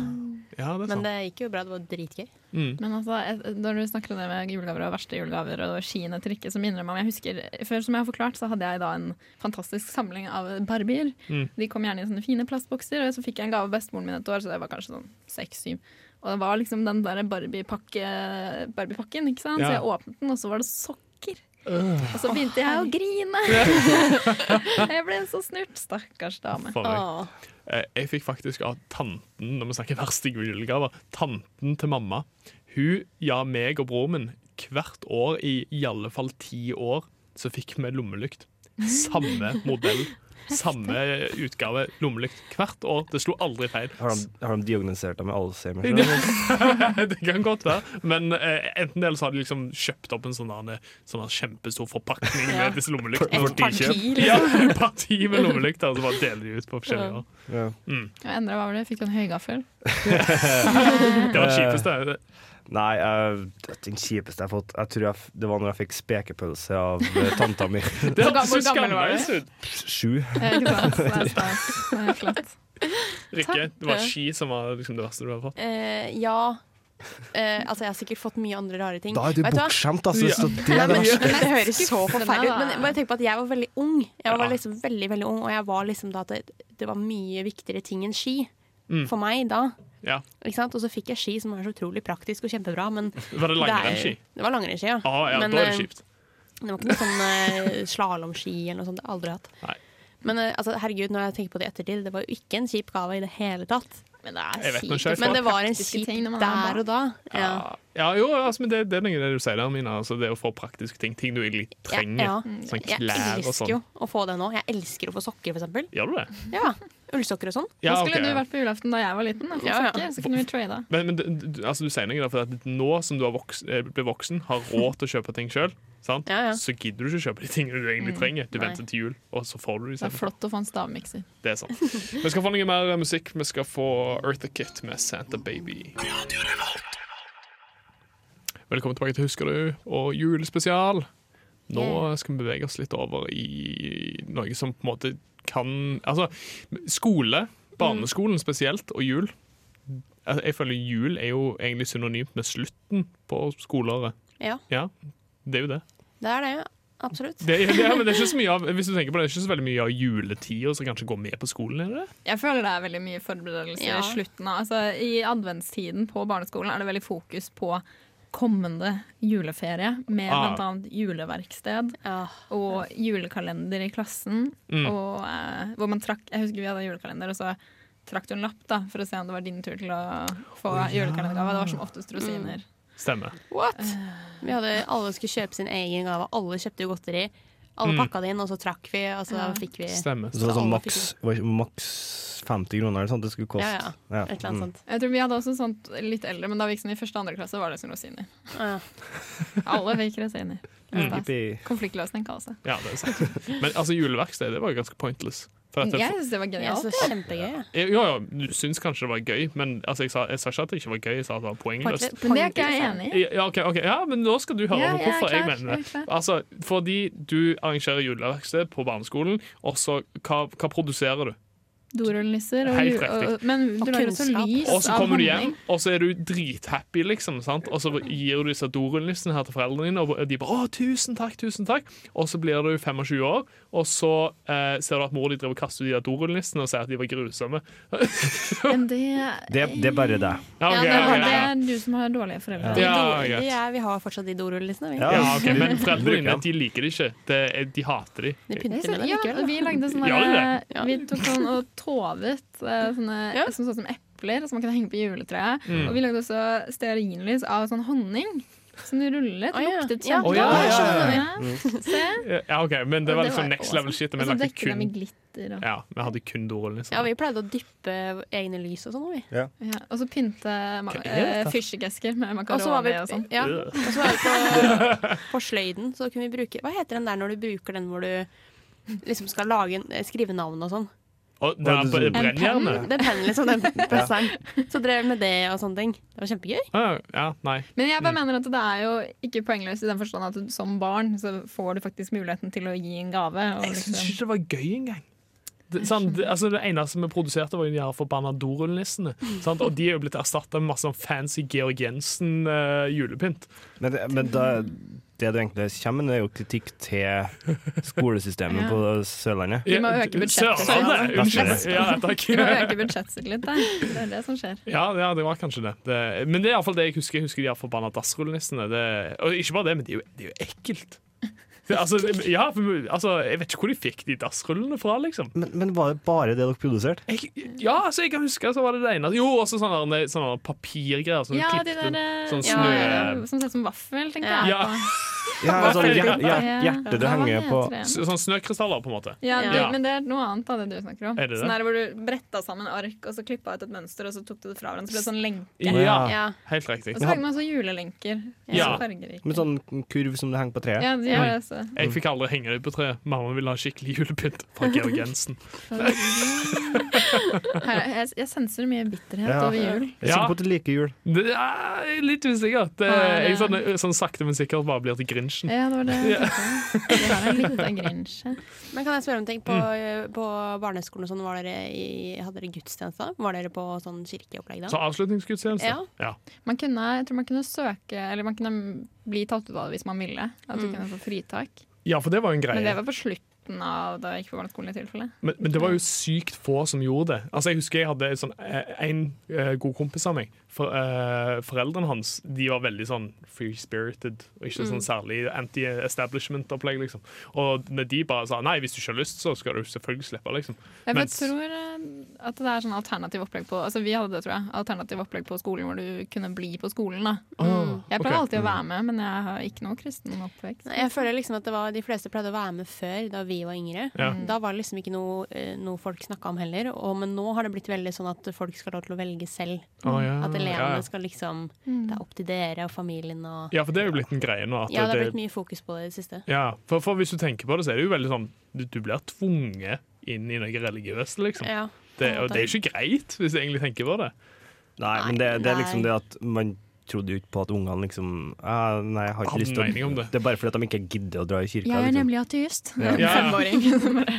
Speaker 2: ja, det er sant. Mm.
Speaker 4: Men det gikk jo bra. Det var dritgøy.
Speaker 6: Men altså, jeg- når du snakker om det med julegaver og verste julegaver og skiene til Rikke, så minner det meg om jeg husker, før som jeg har forklart, så hadde jeg da en fantastisk samling av barbier.
Speaker 2: Mm.
Speaker 6: De kom gjerne i sånne fine plastbokser, og så fikk jeg en gave av bestemoren min et år, så jeg var kanskje sånn seks-syv. Og det var liksom den der Barbie-pakke- Barbie-pakken, ikke sant?
Speaker 2: Ja.
Speaker 6: Så
Speaker 2: Øh.
Speaker 6: jeg åpnet den, og så var det sokker. Og så begynte jeg å grine. jeg ble så snurt. Stakkars dame.
Speaker 2: For meg. Eh, Jeg fikk faktisk av tanten Når vi snakker verste julegaver Tanten til mamma Hun ga meg og broren min hvert år I, i alle fall ti år Så fikk vi lommelykt Samme modell Samme utgave lommelykt Hvert år, det slo aldri feil
Speaker 5: Har de, har de diagnosert deg med Alzheimer?
Speaker 2: det, det kan godt være. Men eh, enten det, eller så har de liksom kjøpt opp en sånn, der, sånn der kjempestor forpakning
Speaker 4: Ja.
Speaker 2: med disse lommelyktene.
Speaker 4: Et parti, liksom.
Speaker 2: Ja, parti med lommelykter, og så bare deler de ut på forskjellige år.
Speaker 5: Ja.
Speaker 6: Jeg endra hva var det? Jeg fikk en høygaffel.
Speaker 2: Det var det kjipeste.
Speaker 5: Nei, jeg- det er den kjipeste jeg har fått Jeg tror jeg, f- det var når jeg fikk spekepølse av eh, tanta mi.
Speaker 2: Det
Speaker 6: Hvor
Speaker 2: hørtes så
Speaker 6: gammel- hvor gammel var du?
Speaker 2: skamløst ut.
Speaker 5: Sju.
Speaker 6: Eh, Ikke sant? Det er stas. Det er klart.
Speaker 2: Rikke, det var ski som var liksom det verste du hadde fått.
Speaker 4: Eh, ja. Eh, altså, jeg har sikkert fått mye andre rare ting.
Speaker 5: Da er du
Speaker 4: Vet hva?
Speaker 5: bortskjemt, altså.
Speaker 2: Ja.
Speaker 5: Så det
Speaker 4: Nei,
Speaker 5: er det
Speaker 4: men,
Speaker 5: verste.
Speaker 4: det høres så forferdelig ut.
Speaker 6: da.
Speaker 4: Men bare tenk på at jeg var veldig ung. Jeg
Speaker 2: Ja.
Speaker 4: var liksom veldig, veldig ung Og jeg var liksom da at det, det var mye viktigere ting enn ski
Speaker 2: Mm.
Speaker 4: for meg da.
Speaker 2: Ja.
Speaker 4: Ikke sant? Og så fikk jeg ski, som er så utrolig praktisk og kjempebra. Men det,
Speaker 2: Var det
Speaker 4: er-
Speaker 2: langrennsski?
Speaker 4: det var langrennsski, ja.
Speaker 2: Ah, ja,
Speaker 4: men
Speaker 2: da er
Speaker 4: eh,
Speaker 2: det kjipt.
Speaker 4: det var ikke noe sånn slalåmski eller noe sånt. Det har jeg aldri hatt.
Speaker 2: Nei.
Speaker 4: Men eh, altså, herregud, når jeg tenker på det i ettertid, det var jo ikke en kjip gave i det hele tatt.
Speaker 6: Men det
Speaker 2: Jeg
Speaker 6: er
Speaker 2: vet noe
Speaker 6: kjipt.
Speaker 2: selv.
Speaker 4: Men det var en
Speaker 6: Praktiske
Speaker 4: kjip
Speaker 6: ting når man er
Speaker 4: der
Speaker 6: barn.
Speaker 4: og da. Ja.
Speaker 2: Ja, jo, altså, men det, det er noe av det du sier der, Mina. Altså, det å få praktiske ting. Ting du egentlig trenger.
Speaker 4: Ja, ja.
Speaker 2: Sånn
Speaker 4: Jeg
Speaker 2: klær og
Speaker 4: elsker
Speaker 2: sånn.
Speaker 4: jo å få det nå. Jeg elsker å få sokker, for eksempel.
Speaker 2: Gjør du det?
Speaker 4: Ja. Ullsokker og sånn.
Speaker 2: Ja,
Speaker 6: Da skulle
Speaker 2: ok,
Speaker 6: du
Speaker 2: ja.
Speaker 6: vært på julaften da jeg var liten. Da, for
Speaker 4: Ja, ja.
Speaker 6: sokker, så kunne vi trada.
Speaker 2: Men, men du- du, altså, du sier noe der, for at nå som du har voks, eh, blir voksen, har råd til å kjøpe ting sjøl,
Speaker 4: Ja, ja.
Speaker 2: så gidder du ikke kjøpe de tingene du egentlig trenger. Du
Speaker 6: nei.
Speaker 2: venter til jul, og så får du de.
Speaker 6: Det er
Speaker 2: selv.
Speaker 6: flott å få en stavmikser.
Speaker 2: Det er sant. Vi skal få noe mer musikk. Vi skal få Eartha Kitt med Santa Baby. Velkommen tilbake til Husker du og julespesial. Nå skal vi bevege oss litt over i noe som på en måte kan Altså, skole, barneskolen spesielt, og jul. Altså, Jeg føler jul er jo egentlig synonymt med slutten på skoleåret.
Speaker 4: Ja,
Speaker 2: Ja, det er jo det.
Speaker 4: det er det. Absolutt.
Speaker 2: det, det, ja, men det er ikke så mye av, hvis du tenker på det, det er ikke så veldig mye av juletida som kanskje går med på skolen, er det det?
Speaker 6: Jeg føler det er veldig mye forberedelser
Speaker 4: Ja.
Speaker 6: i slutten av altså, I adventstiden på barneskolen er det veldig fokus på kommende juleferie med
Speaker 2: Ah.
Speaker 6: blant bl.a. juleverksted
Speaker 4: Ja.
Speaker 6: og julekalender i klassen.
Speaker 2: Mm.
Speaker 6: Og, eh, hvor man trakk Jeg husker vi hadde julekalender, og så trakk du en lapp da for å se om det var din tur til å få julekalendergave. Det var som oftest rosiner.
Speaker 4: Mm.
Speaker 2: Stemmer.
Speaker 4: What? Vi hadde, alle skulle kjøpe sin egen gave. Alle kjøpte jo godteri.
Speaker 2: Mm.
Speaker 4: Alle pakka det inn, og så trakk vi, og så fikk vi et
Speaker 2: Stemmer.
Speaker 5: Så det var sånn
Speaker 4: Alle
Speaker 5: maks, var ikke- maks 50 kroner eller sånt det skulle koste.
Speaker 4: Ja,
Speaker 5: Ja. Mm.
Speaker 4: eller
Speaker 2: Mm.
Speaker 4: annet sånt.
Speaker 6: Jeg tror Vi hadde også sånt litt eldre, men da vi gikk sånn i første og andre klasse, var det som rosiner.
Speaker 4: Ja.
Speaker 6: Alle fikk rosiner.
Speaker 5: Mm.
Speaker 6: Stas.
Speaker 5: Jippi.
Speaker 6: Konfliktløsning kalles det.
Speaker 2: Ja, det er sant. Men altså, juleverksted, det var jo ganske pointless. For at det,
Speaker 6: Jeg synes det var
Speaker 4: Jeg
Speaker 6: genialt.
Speaker 4: synes det var kjempegøy. jeg.
Speaker 2: jo, jo, du syns kanskje det var gøy, men altså, jeg, sa, jeg sa ikke at det ikke var gøy, jeg sa at det var poengløst.
Speaker 6: Men det er ikke jeg enig i.
Speaker 2: Ja, ok, ok. ja, men nå skal du høre
Speaker 6: Ja, jeg er
Speaker 2: hvorfor jeg
Speaker 6: klar,
Speaker 2: mener
Speaker 6: jeg er
Speaker 2: det.
Speaker 6: klar.
Speaker 2: Altså, fordi du arrangerer juleverksted på barneskolen, og så hva, hva produserer du?
Speaker 6: Dorullenisser og,
Speaker 2: Helt
Speaker 6: jul-
Speaker 2: riktig.
Speaker 6: og Men du
Speaker 4: Og
Speaker 6: lager så
Speaker 4: kunnskap.
Speaker 6: lys
Speaker 2: Og så
Speaker 6: av
Speaker 2: kommer du
Speaker 6: honning.
Speaker 2: hjem, og så er du drithappy, liksom. Sant? Og så gir du disse dorullnissene her til foreldrene dine, og de bare 'Å, tusen takk, tusen takk'. Og så blir du 25 år, og så eh, ser du at mor di driver og kaster ut de der dorullnissene og sier at de var grusomme.
Speaker 6: Men det,
Speaker 5: Det, det er bare det.
Speaker 2: Ja, ok,
Speaker 4: Ja, det var
Speaker 2: ok,
Speaker 6: det
Speaker 2: ja.
Speaker 6: er du som har dårlige foreldre.
Speaker 4: De
Speaker 2: Ja,
Speaker 4: dor-
Speaker 2: greit.
Speaker 4: de er, vi har fortsatt de dorullissene, vi.
Speaker 5: Ja.
Speaker 2: Ja, ok, Men foreldrene
Speaker 5: Bruker
Speaker 2: dine
Speaker 5: dem.
Speaker 2: de liker det ikke. Det er, de hater de.
Speaker 4: De
Speaker 6: Jeg
Speaker 4: pynter
Speaker 6: synes-
Speaker 4: med dem
Speaker 6: Ja,
Speaker 4: likevel.
Speaker 6: og vi lagde sånne
Speaker 2: Ja, det
Speaker 4: Ja.
Speaker 6: Vi tok sånn og tovet eh, sånne
Speaker 4: Ja.
Speaker 6: som så ut som epler, som man kunne henge på juletreet.
Speaker 2: Mm.
Speaker 6: Og vi lagde også stearinlys av sånn honning. Som du rullet.
Speaker 4: Å, ja.
Speaker 6: Luktet
Speaker 4: Ja,
Speaker 2: Å, ja, ja,
Speaker 6: kjempegodt.
Speaker 5: ja,
Speaker 6: Se.
Speaker 2: Ja, ok, Men det var
Speaker 6: Og
Speaker 2: liksom next
Speaker 6: awesome. Altså,
Speaker 2: level shit. og Vi
Speaker 6: Og så
Speaker 2: lagde
Speaker 6: dekket dem i
Speaker 2: kun,
Speaker 6: glitter. Og,
Speaker 2: ja, vi hadde kun dorullnisser.
Speaker 4: Ja, vi pleide å dyppe egne lys og sånn. vi.
Speaker 6: ja. og så pynte man
Speaker 2: Hva er dette?
Speaker 6: eh, fyrstikkesker med
Speaker 4: Og så var vi,
Speaker 6: makaroni og sånn.
Speaker 4: ja, og så var vi på, på sløyden. Så kunne vi bruke Hva heter den der når du bruker den hvor du liksom skal lage en, skrive navn og sånn?
Speaker 2: Og det er på-
Speaker 5: En
Speaker 2: brennjernet.
Speaker 4: Den pennen, liksom. Den presseren. Så drev vi med det og sånne ting. Det var kjempegøy.
Speaker 2: Ja, ja, nei.
Speaker 6: Men jeg
Speaker 2: Mm.
Speaker 6: bare mener at det er jo ikke poengløst i den forstand at du, som barn så får du faktisk muligheten til å gi en gave. Og
Speaker 2: Jeg syns
Speaker 6: liksom,
Speaker 2: ikke det var gøy engang. Det, sant? Det, altså, det eneste vi produserte, var jo de her forbanna dorullnissene.
Speaker 6: Mm.
Speaker 2: sant? Og de er jo blitt erstatta med masse sånn fancy Georg eh, Jensen-julepynt.
Speaker 5: Men, det- men da, det du egentlig kommer med, det er jo kritikk til skolesystemet
Speaker 6: Ja.
Speaker 5: på Sørlandet.
Speaker 6: Vi må øke budsjettet.
Speaker 2: Sørlandet! Unnskyld. Ja, takk.
Speaker 6: du må øke budsjettet sitt litt, da. Det er det som skjer.
Speaker 2: Ja, ja, det var kanskje det. det men det er iallfall det jeg husker. Jeg husker de her forbanna dassrullnissene. Det, og ikke bare det, men det er jo, det er jo ekkelt. Altså, ja, for, altså, jeg vet ikke hvor de fikk de dassrullene fra, liksom.
Speaker 5: Men, men var det bare det dere produserte?
Speaker 2: Jeg, ja, altså, jeg kan huske så var det det ene Jo, også sånne, der- sånne papirgreier som
Speaker 6: Ja,
Speaker 2: du
Speaker 6: de
Speaker 2: klippte.
Speaker 6: der eh,
Speaker 2: sånn
Speaker 6: ja,
Speaker 2: snø-
Speaker 6: ja, Som ser ut som vaffel, tenkte jeg.
Speaker 2: Ja.
Speaker 6: på.
Speaker 5: Ja,
Speaker 2: Hva
Speaker 5: sånn
Speaker 2: er det?
Speaker 5: hjerte, hjerte,
Speaker 6: Ja.
Speaker 5: hjerte du
Speaker 6: Hva
Speaker 5: henger
Speaker 6: heter
Speaker 5: på
Speaker 6: det?
Speaker 2: S- Sånne sånn snøkrystaller, på en måte.
Speaker 6: Ja,
Speaker 4: Ja.
Speaker 6: det-
Speaker 2: Ja.
Speaker 6: men det er noe annet av det du snakker om.
Speaker 2: Er det det?
Speaker 6: Sånn der hvor du bretta sammen ark, og så klippa ut et mønster, og så tok du det fra hverandre. Så ble det sånn lenke.
Speaker 2: Ja,
Speaker 4: Ja.
Speaker 2: helt riktig.
Speaker 6: Og så lagde man sånne julelenker.
Speaker 2: Ja.
Speaker 6: Så fargerike.
Speaker 5: med sånn kurv som du henger på treet.
Speaker 6: Ja, de gjør det også.
Speaker 2: Jeg fikk aldri henge det på treet. Mamma ville ha skikkelig julepynt fra Georg Jensen.
Speaker 6: Her, jeg, jeg senser mye bitterhet
Speaker 5: Ja.
Speaker 6: over jul.
Speaker 5: Jeg er
Speaker 2: Ja.
Speaker 5: sikker på at du liker jul.
Speaker 2: Det er litt usikkert. Det, jeg sånn, sånn sakte, men sikkert bare blir til Grinchen.
Speaker 6: Ja, det var det jeg tenkte. Det her er litt av grinsje.
Speaker 4: Men kan jeg spørre om en ting? På,
Speaker 2: Mm.
Speaker 4: eh, på barneskolen og sånn, var dere i, hadde dere gudstjeneste? da? Var dere på sånn kirkeopplegg da?
Speaker 2: Så avslutningsgudstjeneste.
Speaker 4: Ja.
Speaker 2: Ja.
Speaker 6: Man kunne, jeg tror man kunne søke, eller man kunne bli tatt ut av det hvis man ville. At du
Speaker 4: Mm.
Speaker 6: kunne få fritak.
Speaker 2: ja, for det var jo en greie.
Speaker 6: Men det var på slutten av da jeg gikk på barneskolen i tilfelle.
Speaker 2: Men, men det var jo sykt få som gjorde det. Altså Jeg husker jeg hadde en sånn, eh, en eh, god kompis av meg. For, eh, foreldrene hans de var veldig sånn free-spirited. Og ikke
Speaker 4: Mm.
Speaker 2: sånn særlig anti-establishment-opplegg. liksom Og når de bare sa nei, hvis du ikke har lyst, så skal du selvfølgelig slippe. liksom
Speaker 6: Jeg vet,
Speaker 2: Mens-
Speaker 6: tror eh, at det er sånn alternativ opplegg på Altså vi hadde det, tror jeg. Alternativ opplegg på skolen hvor du kunne bli på skolen, da. Jeg pleier alltid å være med, men jeg har ikke noe kristen oppvekst.
Speaker 4: Nei, Jeg føler liksom at det var, De fleste pleide å være med før, da vi var yngre.
Speaker 2: Ja.
Speaker 4: Da var det liksom ikke noe, eh, noe folk snakka om heller. Og, men nå har det blitt veldig sånn at folk skal ha lov til å velge selv.
Speaker 2: Å, ja.
Speaker 4: Mm. At
Speaker 2: ja,
Speaker 4: elevene
Speaker 2: Mm, ja. Mm.
Speaker 4: skal liksom Det er opp til dere og familien og
Speaker 2: ja, for det er jo blitt en greie nå. At
Speaker 4: Ja, det har
Speaker 2: det-
Speaker 4: blitt mye fokus på det i det siste.
Speaker 2: ja, for, for hvis du tenker på det, så er det jo veldig sånn Du, du blir tvunget inn i noe religiøst, liksom.
Speaker 4: Ja.
Speaker 2: Det, og det er jo ikke greit, hvis du egentlig tenker på det.
Speaker 5: Nei, men det,
Speaker 4: Nei,
Speaker 5: det er
Speaker 4: nei.
Speaker 5: liksom det at man trodde jo ikke på at ungene liksom ah, Nei, jeg
Speaker 2: Hadde
Speaker 5: har ikke lyst til
Speaker 2: mening
Speaker 5: å
Speaker 2: om det.
Speaker 5: Det er bare fordi at de ikke gidder å dra i kirka.
Speaker 6: Jeg er
Speaker 5: liksom.
Speaker 6: nemlig ateist.
Speaker 5: Ja.
Speaker 2: Ja.
Speaker 6: Femåring.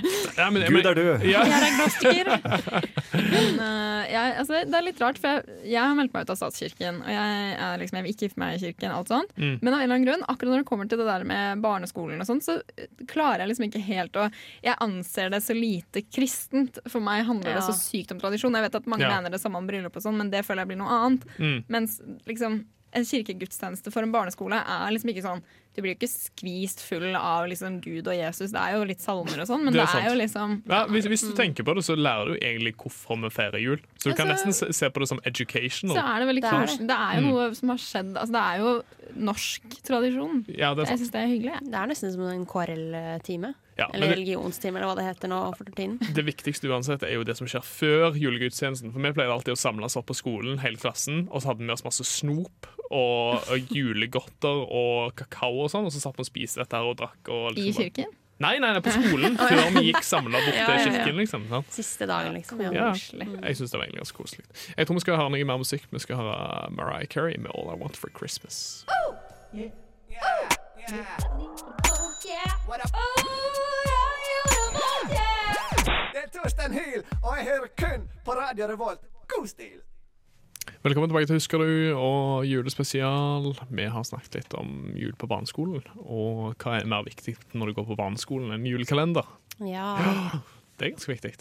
Speaker 2: Ja, men,
Speaker 5: Gud er død!
Speaker 2: Ja.
Speaker 6: Jeg er agnostiker. Men, eh, jeg, altså, det er litt rart, for jeg, jeg har meldt meg ut av statskirken. Og jeg, er liksom, jeg vil ikke gifte meg i kirken, alt sånt.
Speaker 2: Mm.
Speaker 6: Men av en eller annen grunn, akkurat når det kommer til det der med barneskolen og sånn, så eh, klarer jeg liksom ikke helt å Jeg anser det så lite kristent. For meg handler det
Speaker 4: Ja.
Speaker 6: så sykt om tradisjon. Jeg vet at mange
Speaker 2: Ja.
Speaker 6: mener det samme om bryllup og sånn, men det føler jeg blir noe annet.
Speaker 2: Mm.
Speaker 6: Mens liksom en kirkegudstjeneste for en barneskole er liksom ikke sånn Du blir jo ikke skvist full av liksom Gud og Jesus. Det er jo litt salmer og sånn, men
Speaker 2: Det
Speaker 6: det
Speaker 2: er
Speaker 6: er,
Speaker 2: sant.
Speaker 6: jo liksom
Speaker 2: Ja, hvis, hvis du tenker på det, så lærer du egentlig hvorfor vi feirer jul. Så du kan
Speaker 6: Altså-
Speaker 2: nesten se- se på det som
Speaker 6: så
Speaker 2: educational.
Speaker 6: er det veldig
Speaker 4: Det er
Speaker 6: kos- Det er jo
Speaker 2: Mm.
Speaker 6: noe som har skjedd altså Det er jo norsk tradisjon.
Speaker 2: Ja, det er
Speaker 6: Jeg
Speaker 2: sant.
Speaker 6: syns det er hyggelig. Jeg.
Speaker 4: Det er nesten som en KRL-time.
Speaker 2: Ja, men
Speaker 4: Eller
Speaker 2: det,
Speaker 4: religionstime, eller hva det heter nå for tiden.
Speaker 2: det viktigste uansett er jo det som skjer før julegudstjenesten. For vi pleide alltid å samles opp på skolen, hele klassen, og så hadde vi med oss masse snop og, og julegodter og kakao og sånn, og så satt vi og spiste dette her og drakk og
Speaker 6: I
Speaker 2: liksom bare-
Speaker 6: kirken.
Speaker 2: Nei, nei, nei, på skolen, før vi gikk samla bort
Speaker 6: Ja,
Speaker 2: til
Speaker 6: ja, ja.
Speaker 2: kirken, liksom. sant?
Speaker 4: Siste dagen, liksom.
Speaker 2: Ja. Mm.
Speaker 4: Ja.
Speaker 6: Koselig.
Speaker 2: Jeg syns det var egentlig ganske koselig. Jeg tror vi skal høre noe mer musikk. Vi skal høre Mariah Carey med 'All I Want for Christmas'.
Speaker 9: Det er Torstein Hyl, og jeg hører kun på Radio Revolt. God stil!
Speaker 2: Velkommen tilbake til Husker du og julespesial. Vi har snakket litt om jul på barneskolen, og hva er mer viktig når du går på barneskolen enn julekalender.
Speaker 4: Ja.
Speaker 2: Det er ganske viktig.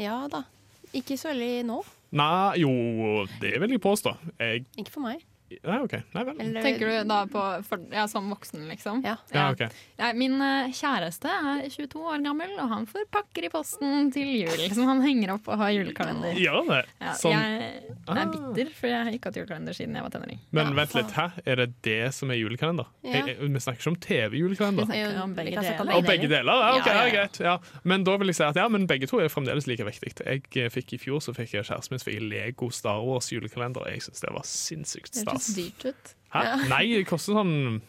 Speaker 4: ja da. Ikke så veldig nå.
Speaker 2: Nei, jo, det vil jeg påstå. Jeg
Speaker 4: Ikke for meg.
Speaker 2: Nei, OK. Nei vel.
Speaker 4: Eller-
Speaker 6: Tenker du da på for, ja, som voksen, liksom?
Speaker 4: Ja.
Speaker 2: Ja, ok.
Speaker 6: Nei, Min eh, kjæreste er 22 år gammel, og han får pakker i posten til jul som han henger opp og har julekalender.
Speaker 2: Gjør det?
Speaker 6: Ja,
Speaker 2: Sånn.
Speaker 6: Jeg er bitter, for jeg har ikke hatt julekalender siden jeg var tenåring.
Speaker 2: Men vent litt, hæ? Er det det som er julekalender?
Speaker 4: Ja.
Speaker 2: Jeg, jeg, vi snakker ikke om TV-julekalender.
Speaker 4: Det er jo-
Speaker 6: om begge
Speaker 4: vi kan snakke om
Speaker 6: deler.
Speaker 2: Og begge deler? Ja, ok,
Speaker 6: Ja,
Speaker 2: ja,
Speaker 6: ja, ja.
Speaker 2: greit. Ja. Men da vil jeg si at ja, men begge to er fremdeles like viktig. Jeg eh, fikk I fjor så fikk jeg kjæresten min så fikk jeg Lego Star Wars julekalender. Jeg syns det var sinnssykt
Speaker 6: Det hørtes
Speaker 2: stas.
Speaker 6: dyrt ut.
Speaker 2: Hæ? Nei, det koster sånn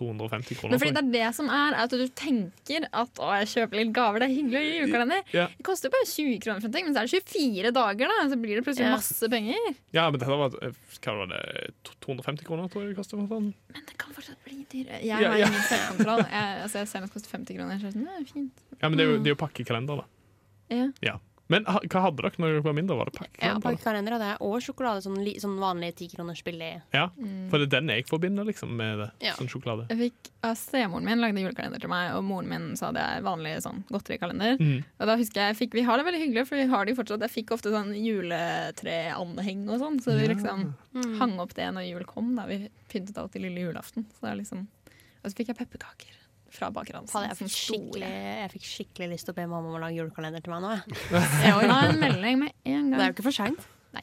Speaker 2: 250 kroner.
Speaker 6: Men fordi det er det som er, er at du tenker at å, jeg kjøper litt gaver, det er hyggelig å gi julekalender.
Speaker 2: Ja.
Speaker 6: Det koster jo bare 20 kroner, for en ting, men så er det 24 dager, da, så blir det plutselig
Speaker 4: Ja.
Speaker 6: masse penger.
Speaker 2: ja, men dette var, eh, hva var det, 250 kroner, tror jeg det koster. for Sånn.
Speaker 6: Men det kan fortsatt bli dyrere. Jeg
Speaker 2: Ja,
Speaker 6: har
Speaker 2: ja.
Speaker 6: ingen selvkontroll. Jeg, altså, jeg ser at det koster 50 kroner. Så jeg er sånn, det er fint.
Speaker 2: Ja, men det
Speaker 6: Mm.
Speaker 2: er jo, det er jo pakkekalender, da.
Speaker 6: Ja.
Speaker 2: Ja. Men ha, hva hadde dere når dere var mindre? Var det
Speaker 4: Ja,
Speaker 2: pakkekalender?
Speaker 4: pakkekalender hadde jeg, og sjokolade. Sånn, li- sånn vanlig tikroners billig.
Speaker 2: Ja, for det er den jeg forbinder liksom, med det,
Speaker 4: Ja.
Speaker 2: sånn sjokolade.
Speaker 6: Mm. Jeg fikk, ja, Stemoren min lagde julekalender til meg, og moren min så hadde jeg vanlig sånn, godterikalender.
Speaker 2: Mm.
Speaker 6: Og da husker jeg, jeg fikk, Vi har det veldig hyggelig, for vi har det jo fortsatt. Jeg fikk ofte sånn juletreanheng og sånn, så vi liksom
Speaker 4: Mm.
Speaker 6: hang opp det når jul kom. da Vi pyntet alltid lille julaften. Så det er liksom, og så fikk jeg pepperkaker. fra baker Hansen.
Speaker 4: Faen, jeg, fikk skikkelig, jeg fikk skikkelig lyst til å be mamma om å lage julekalender til meg nå. Jeg.
Speaker 6: Jeg ordna en melding med en
Speaker 4: Det er jo
Speaker 6: gang.
Speaker 4: ikke for seint.
Speaker 6: Nei.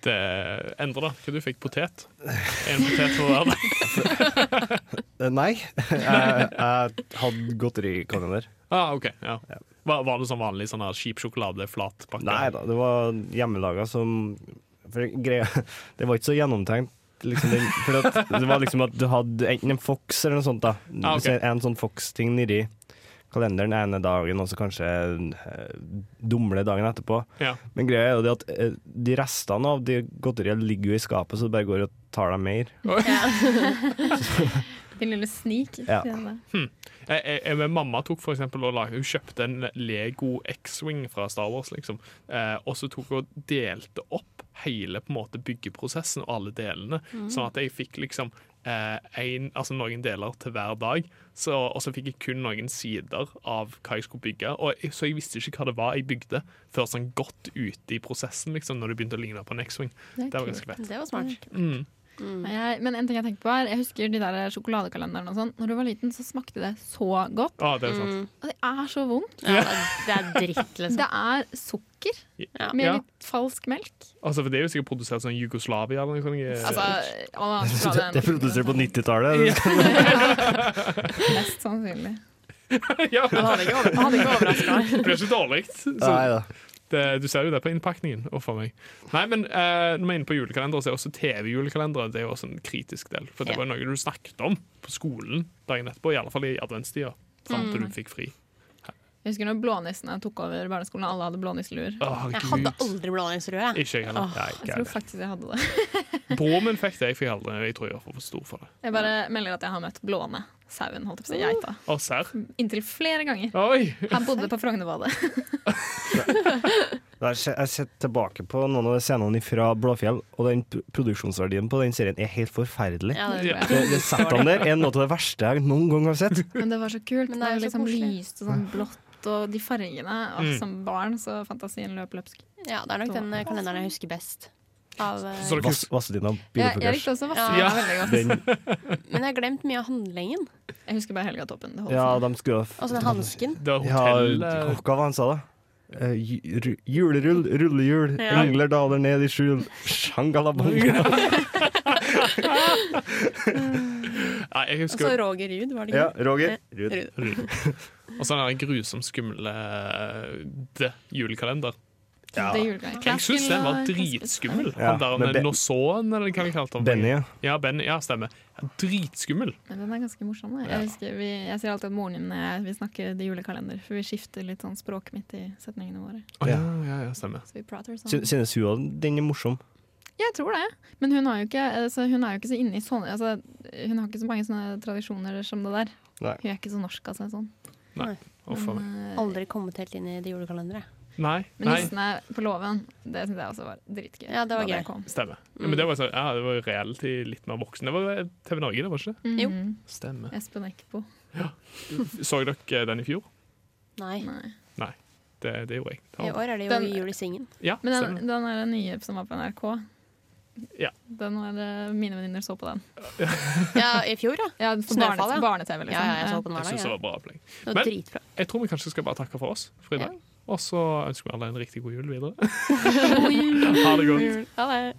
Speaker 2: Det endrer da. Hva du fikk? Potet? En potet for hver?
Speaker 5: Eh, Nei, jeg, jeg hadde godterikalender.
Speaker 2: Ah, OK. Ja. Var, var det sånn vanlig sånn her kjip sjokolade, flat pakke?
Speaker 5: Nei da, det var hjemmelaga som for greia, Det var ikke så gjennomtenkt. Liksom det, for at, det var liksom at du hadde enten en fox eller noe sånt. da
Speaker 2: Ah, ok.
Speaker 5: Så En sånn fox-ting nedi kalenderen ene dagen, og så kanskje eh, dumle dagen etterpå.
Speaker 2: Ja.
Speaker 5: Men greia er jo det at eh, de restene av de godteriene ligger jo i skapet, så du bare går og tar dem mer.
Speaker 6: Din lille snik.
Speaker 5: Ja.
Speaker 2: Jeg, jeg, jeg, men mamma tok for eksempel og lag, Hun kjøpte en Lego X-Wing fra Star Wars, liksom. Eh, og så tok hun og delte opp hele på en måte byggeprosessen og alle delene. Sånn at jeg fikk liksom eh, en, altså noen deler til hver dag. Så, og så fikk jeg kun noen sider av hva jeg skulle bygge. Og jeg, så jeg visste ikke hva det var jeg bygde, før sånn godt ute i prosessen, liksom, når det begynte å ligne på en X-Wing.
Speaker 6: Det er
Speaker 2: Det var
Speaker 6: kult.
Speaker 2: ganske fett.
Speaker 4: Det var smart.
Speaker 2: Mm.
Speaker 6: Men Jeg, men en ting jeg tenker på er Jeg husker de der sjokoladekalenderen og sånn. Når du var liten, så smakte det så godt.
Speaker 2: Ah, det er
Speaker 4: Mm.
Speaker 2: sant.
Speaker 6: Og det er så vondt.
Speaker 4: Ja, det er dritt, liksom.
Speaker 6: Det er sukker
Speaker 4: Ja.
Speaker 6: med
Speaker 2: Ja.
Speaker 6: litt falsk melk.
Speaker 2: Altså, for det er jo sikkert produsert sånn i Jugoslavia eller noe sånt.
Speaker 6: Altså, og
Speaker 5: Det,
Speaker 6: sjokoladen-
Speaker 5: det er produsert på 90-tallet.
Speaker 6: Mest sannsynlig.
Speaker 2: ja,
Speaker 4: Jeg hadde ikke over- jeg hadde ikke overraska meg.
Speaker 2: det blir ikke dårlig. Så
Speaker 5: Nei da.
Speaker 2: det, eh, du ser jo det på innpakningen. Og for meg. Nei, men eh, når vi er inne på julekalendere, så er også TV-julekalendere Det er jo også en kritisk del. For det
Speaker 4: Ja.
Speaker 2: var noe du snakket om på skolen dagen etterpå, i alle fall i adventstida. Fram til
Speaker 4: Mm.
Speaker 2: du fikk fri.
Speaker 6: Jeg husker når blånissene tok over barneskolen, og alle hadde blånisseluer.
Speaker 2: Å,
Speaker 4: Jeg
Speaker 2: Gud.
Speaker 4: hadde aldri blånissrød, jeg.
Speaker 2: Ikke jeg heller.
Speaker 6: Jeg tror faktisk jeg hadde det.
Speaker 2: Broren min fikk det, jeg fikk aldri. Jeg tror jeg var for stor for det.
Speaker 6: Jeg bare melder at jeg har møtt blåne sauen, holdt jeg på å si, geita.
Speaker 2: Å, serr?
Speaker 4: Mm.
Speaker 6: Inntil flere ganger.
Speaker 2: Oi!
Speaker 6: Han bodde på Frognerbadet.
Speaker 5: Da har Jeg se- jeg har sett tilbake på noen av de scenene fra Blåfjell, og den pro- produksjonsverdien på den serien er helt forferdelig.
Speaker 4: Ja, det tror jeg.
Speaker 5: Det, det settene der er noe av det verste jeg noen gang har sett.
Speaker 6: Men det var så kult.
Speaker 4: Men
Speaker 6: Det,
Speaker 4: det er
Speaker 6: var
Speaker 4: jo så
Speaker 6: liksom
Speaker 4: koselig.
Speaker 6: lyst og sånn blått, og de fargene. Og
Speaker 2: Mm.
Speaker 6: Som barn så fantasien løp løpsk.
Speaker 4: Ja, det er nok den eh, kalenderen jeg husker best. Av, eh,
Speaker 2: Så dere
Speaker 5: Vass- Vazelina
Speaker 6: Jeg, jeg
Speaker 5: Bilopphøggers.
Speaker 6: likte også
Speaker 4: Ja.
Speaker 6: Vassøya veldig godt.
Speaker 5: Den,
Speaker 4: men jeg har glemt mye av handlingen.
Speaker 6: Jeg husker bare Helgatoppen. Det holdt
Speaker 5: ja,
Speaker 6: seg.
Speaker 5: de skulle ha
Speaker 4: Altså den hansken.
Speaker 2: Det var
Speaker 5: ja,
Speaker 2: hotell eh,
Speaker 5: Hva var han sa, da? Eh, ju- ru- Julerull, rullehjul,
Speaker 4: Ja.
Speaker 5: engler daler ned i skjul, sjangalabanga.
Speaker 2: Nei, jeg
Speaker 4: Og så
Speaker 2: husker
Speaker 4: Roger Ruud, var det
Speaker 5: Ja,
Speaker 4: ikke?
Speaker 5: Roger. Ruud.
Speaker 2: Og sånn her grusom, skummel eh, det, julekalender.
Speaker 6: Det er julegreier.
Speaker 2: Jeg syns den var dritskummel.
Speaker 5: Ja,
Speaker 2: Han der
Speaker 5: men Ben-
Speaker 2: med Nosson, eller hva vi kalte han.
Speaker 5: Benny. ja.
Speaker 2: Ja, Benny, ja, stemmer. Ja, dritskummel.
Speaker 6: Men den er ganske morsom. da. Jeg, husker, vi, jeg sier alltid at moren min og jeg vi snakker det julekalender, for vi skifter litt sånn språk midt i setningene våre.
Speaker 2: Å, ja, ja, ja, stemmer.
Speaker 6: Så vi prater
Speaker 5: Sy-
Speaker 6: sånn.
Speaker 5: Synes hun også den er morsom?
Speaker 6: Jeg tror det, men hun, har jo ikke, altså, hun er jo ikke så inne i sånne altså, Hun har ikke så mange sånne tradisjoner som det der.
Speaker 5: Nei.
Speaker 6: Hun er ikke så norsk av seg sånn.
Speaker 2: Å, faen meg.
Speaker 6: Men, eh,
Speaker 4: Aldri kommet helt inn i det julekalenderet.
Speaker 2: Nei,
Speaker 6: Men
Speaker 2: nei,
Speaker 6: nissene på låven, det syns jeg også var dritgøy.
Speaker 4: Ja, det var
Speaker 6: da
Speaker 4: gøy.
Speaker 6: kom.
Speaker 2: stemmer. Ja, men det var, så, ja, det var jo reelt i litt mer voksen. Det var eh, TV Norge, det var ikke det?
Speaker 6: Mhm.
Speaker 4: Jo.
Speaker 2: Stemmer.
Speaker 6: Espen Eckbo.
Speaker 2: Så dere eh, den i fjor?
Speaker 4: Mm. Nei.
Speaker 6: Nei.
Speaker 2: Det, det gjorde jeg.
Speaker 4: I år er det jo
Speaker 6: Den-
Speaker 4: Jul i Svingen.
Speaker 2: Ja,
Speaker 6: Men den,
Speaker 2: stemmer.
Speaker 6: den er den nye som var på NRK.
Speaker 2: Ja.
Speaker 6: Den var, eh, mine venninner så på den.
Speaker 4: Ja, i fjor, ja.
Speaker 6: Ja, for
Speaker 4: Snøfall,
Speaker 6: barne,
Speaker 4: ja.
Speaker 6: Barne-TV, liksom.
Speaker 4: Ja, ja, jeg så på den
Speaker 2: Jeg
Speaker 4: hver dag.
Speaker 2: syns det
Speaker 4: Ja.
Speaker 2: var bra opplegg.
Speaker 4: Det
Speaker 2: Men-
Speaker 4: var dritbra.
Speaker 2: Jeg tror vi kanskje skal bare takke for oss for i dag. Og så ønsker vi alle en riktig god jul videre. ha det godt.
Speaker 4: Ha det.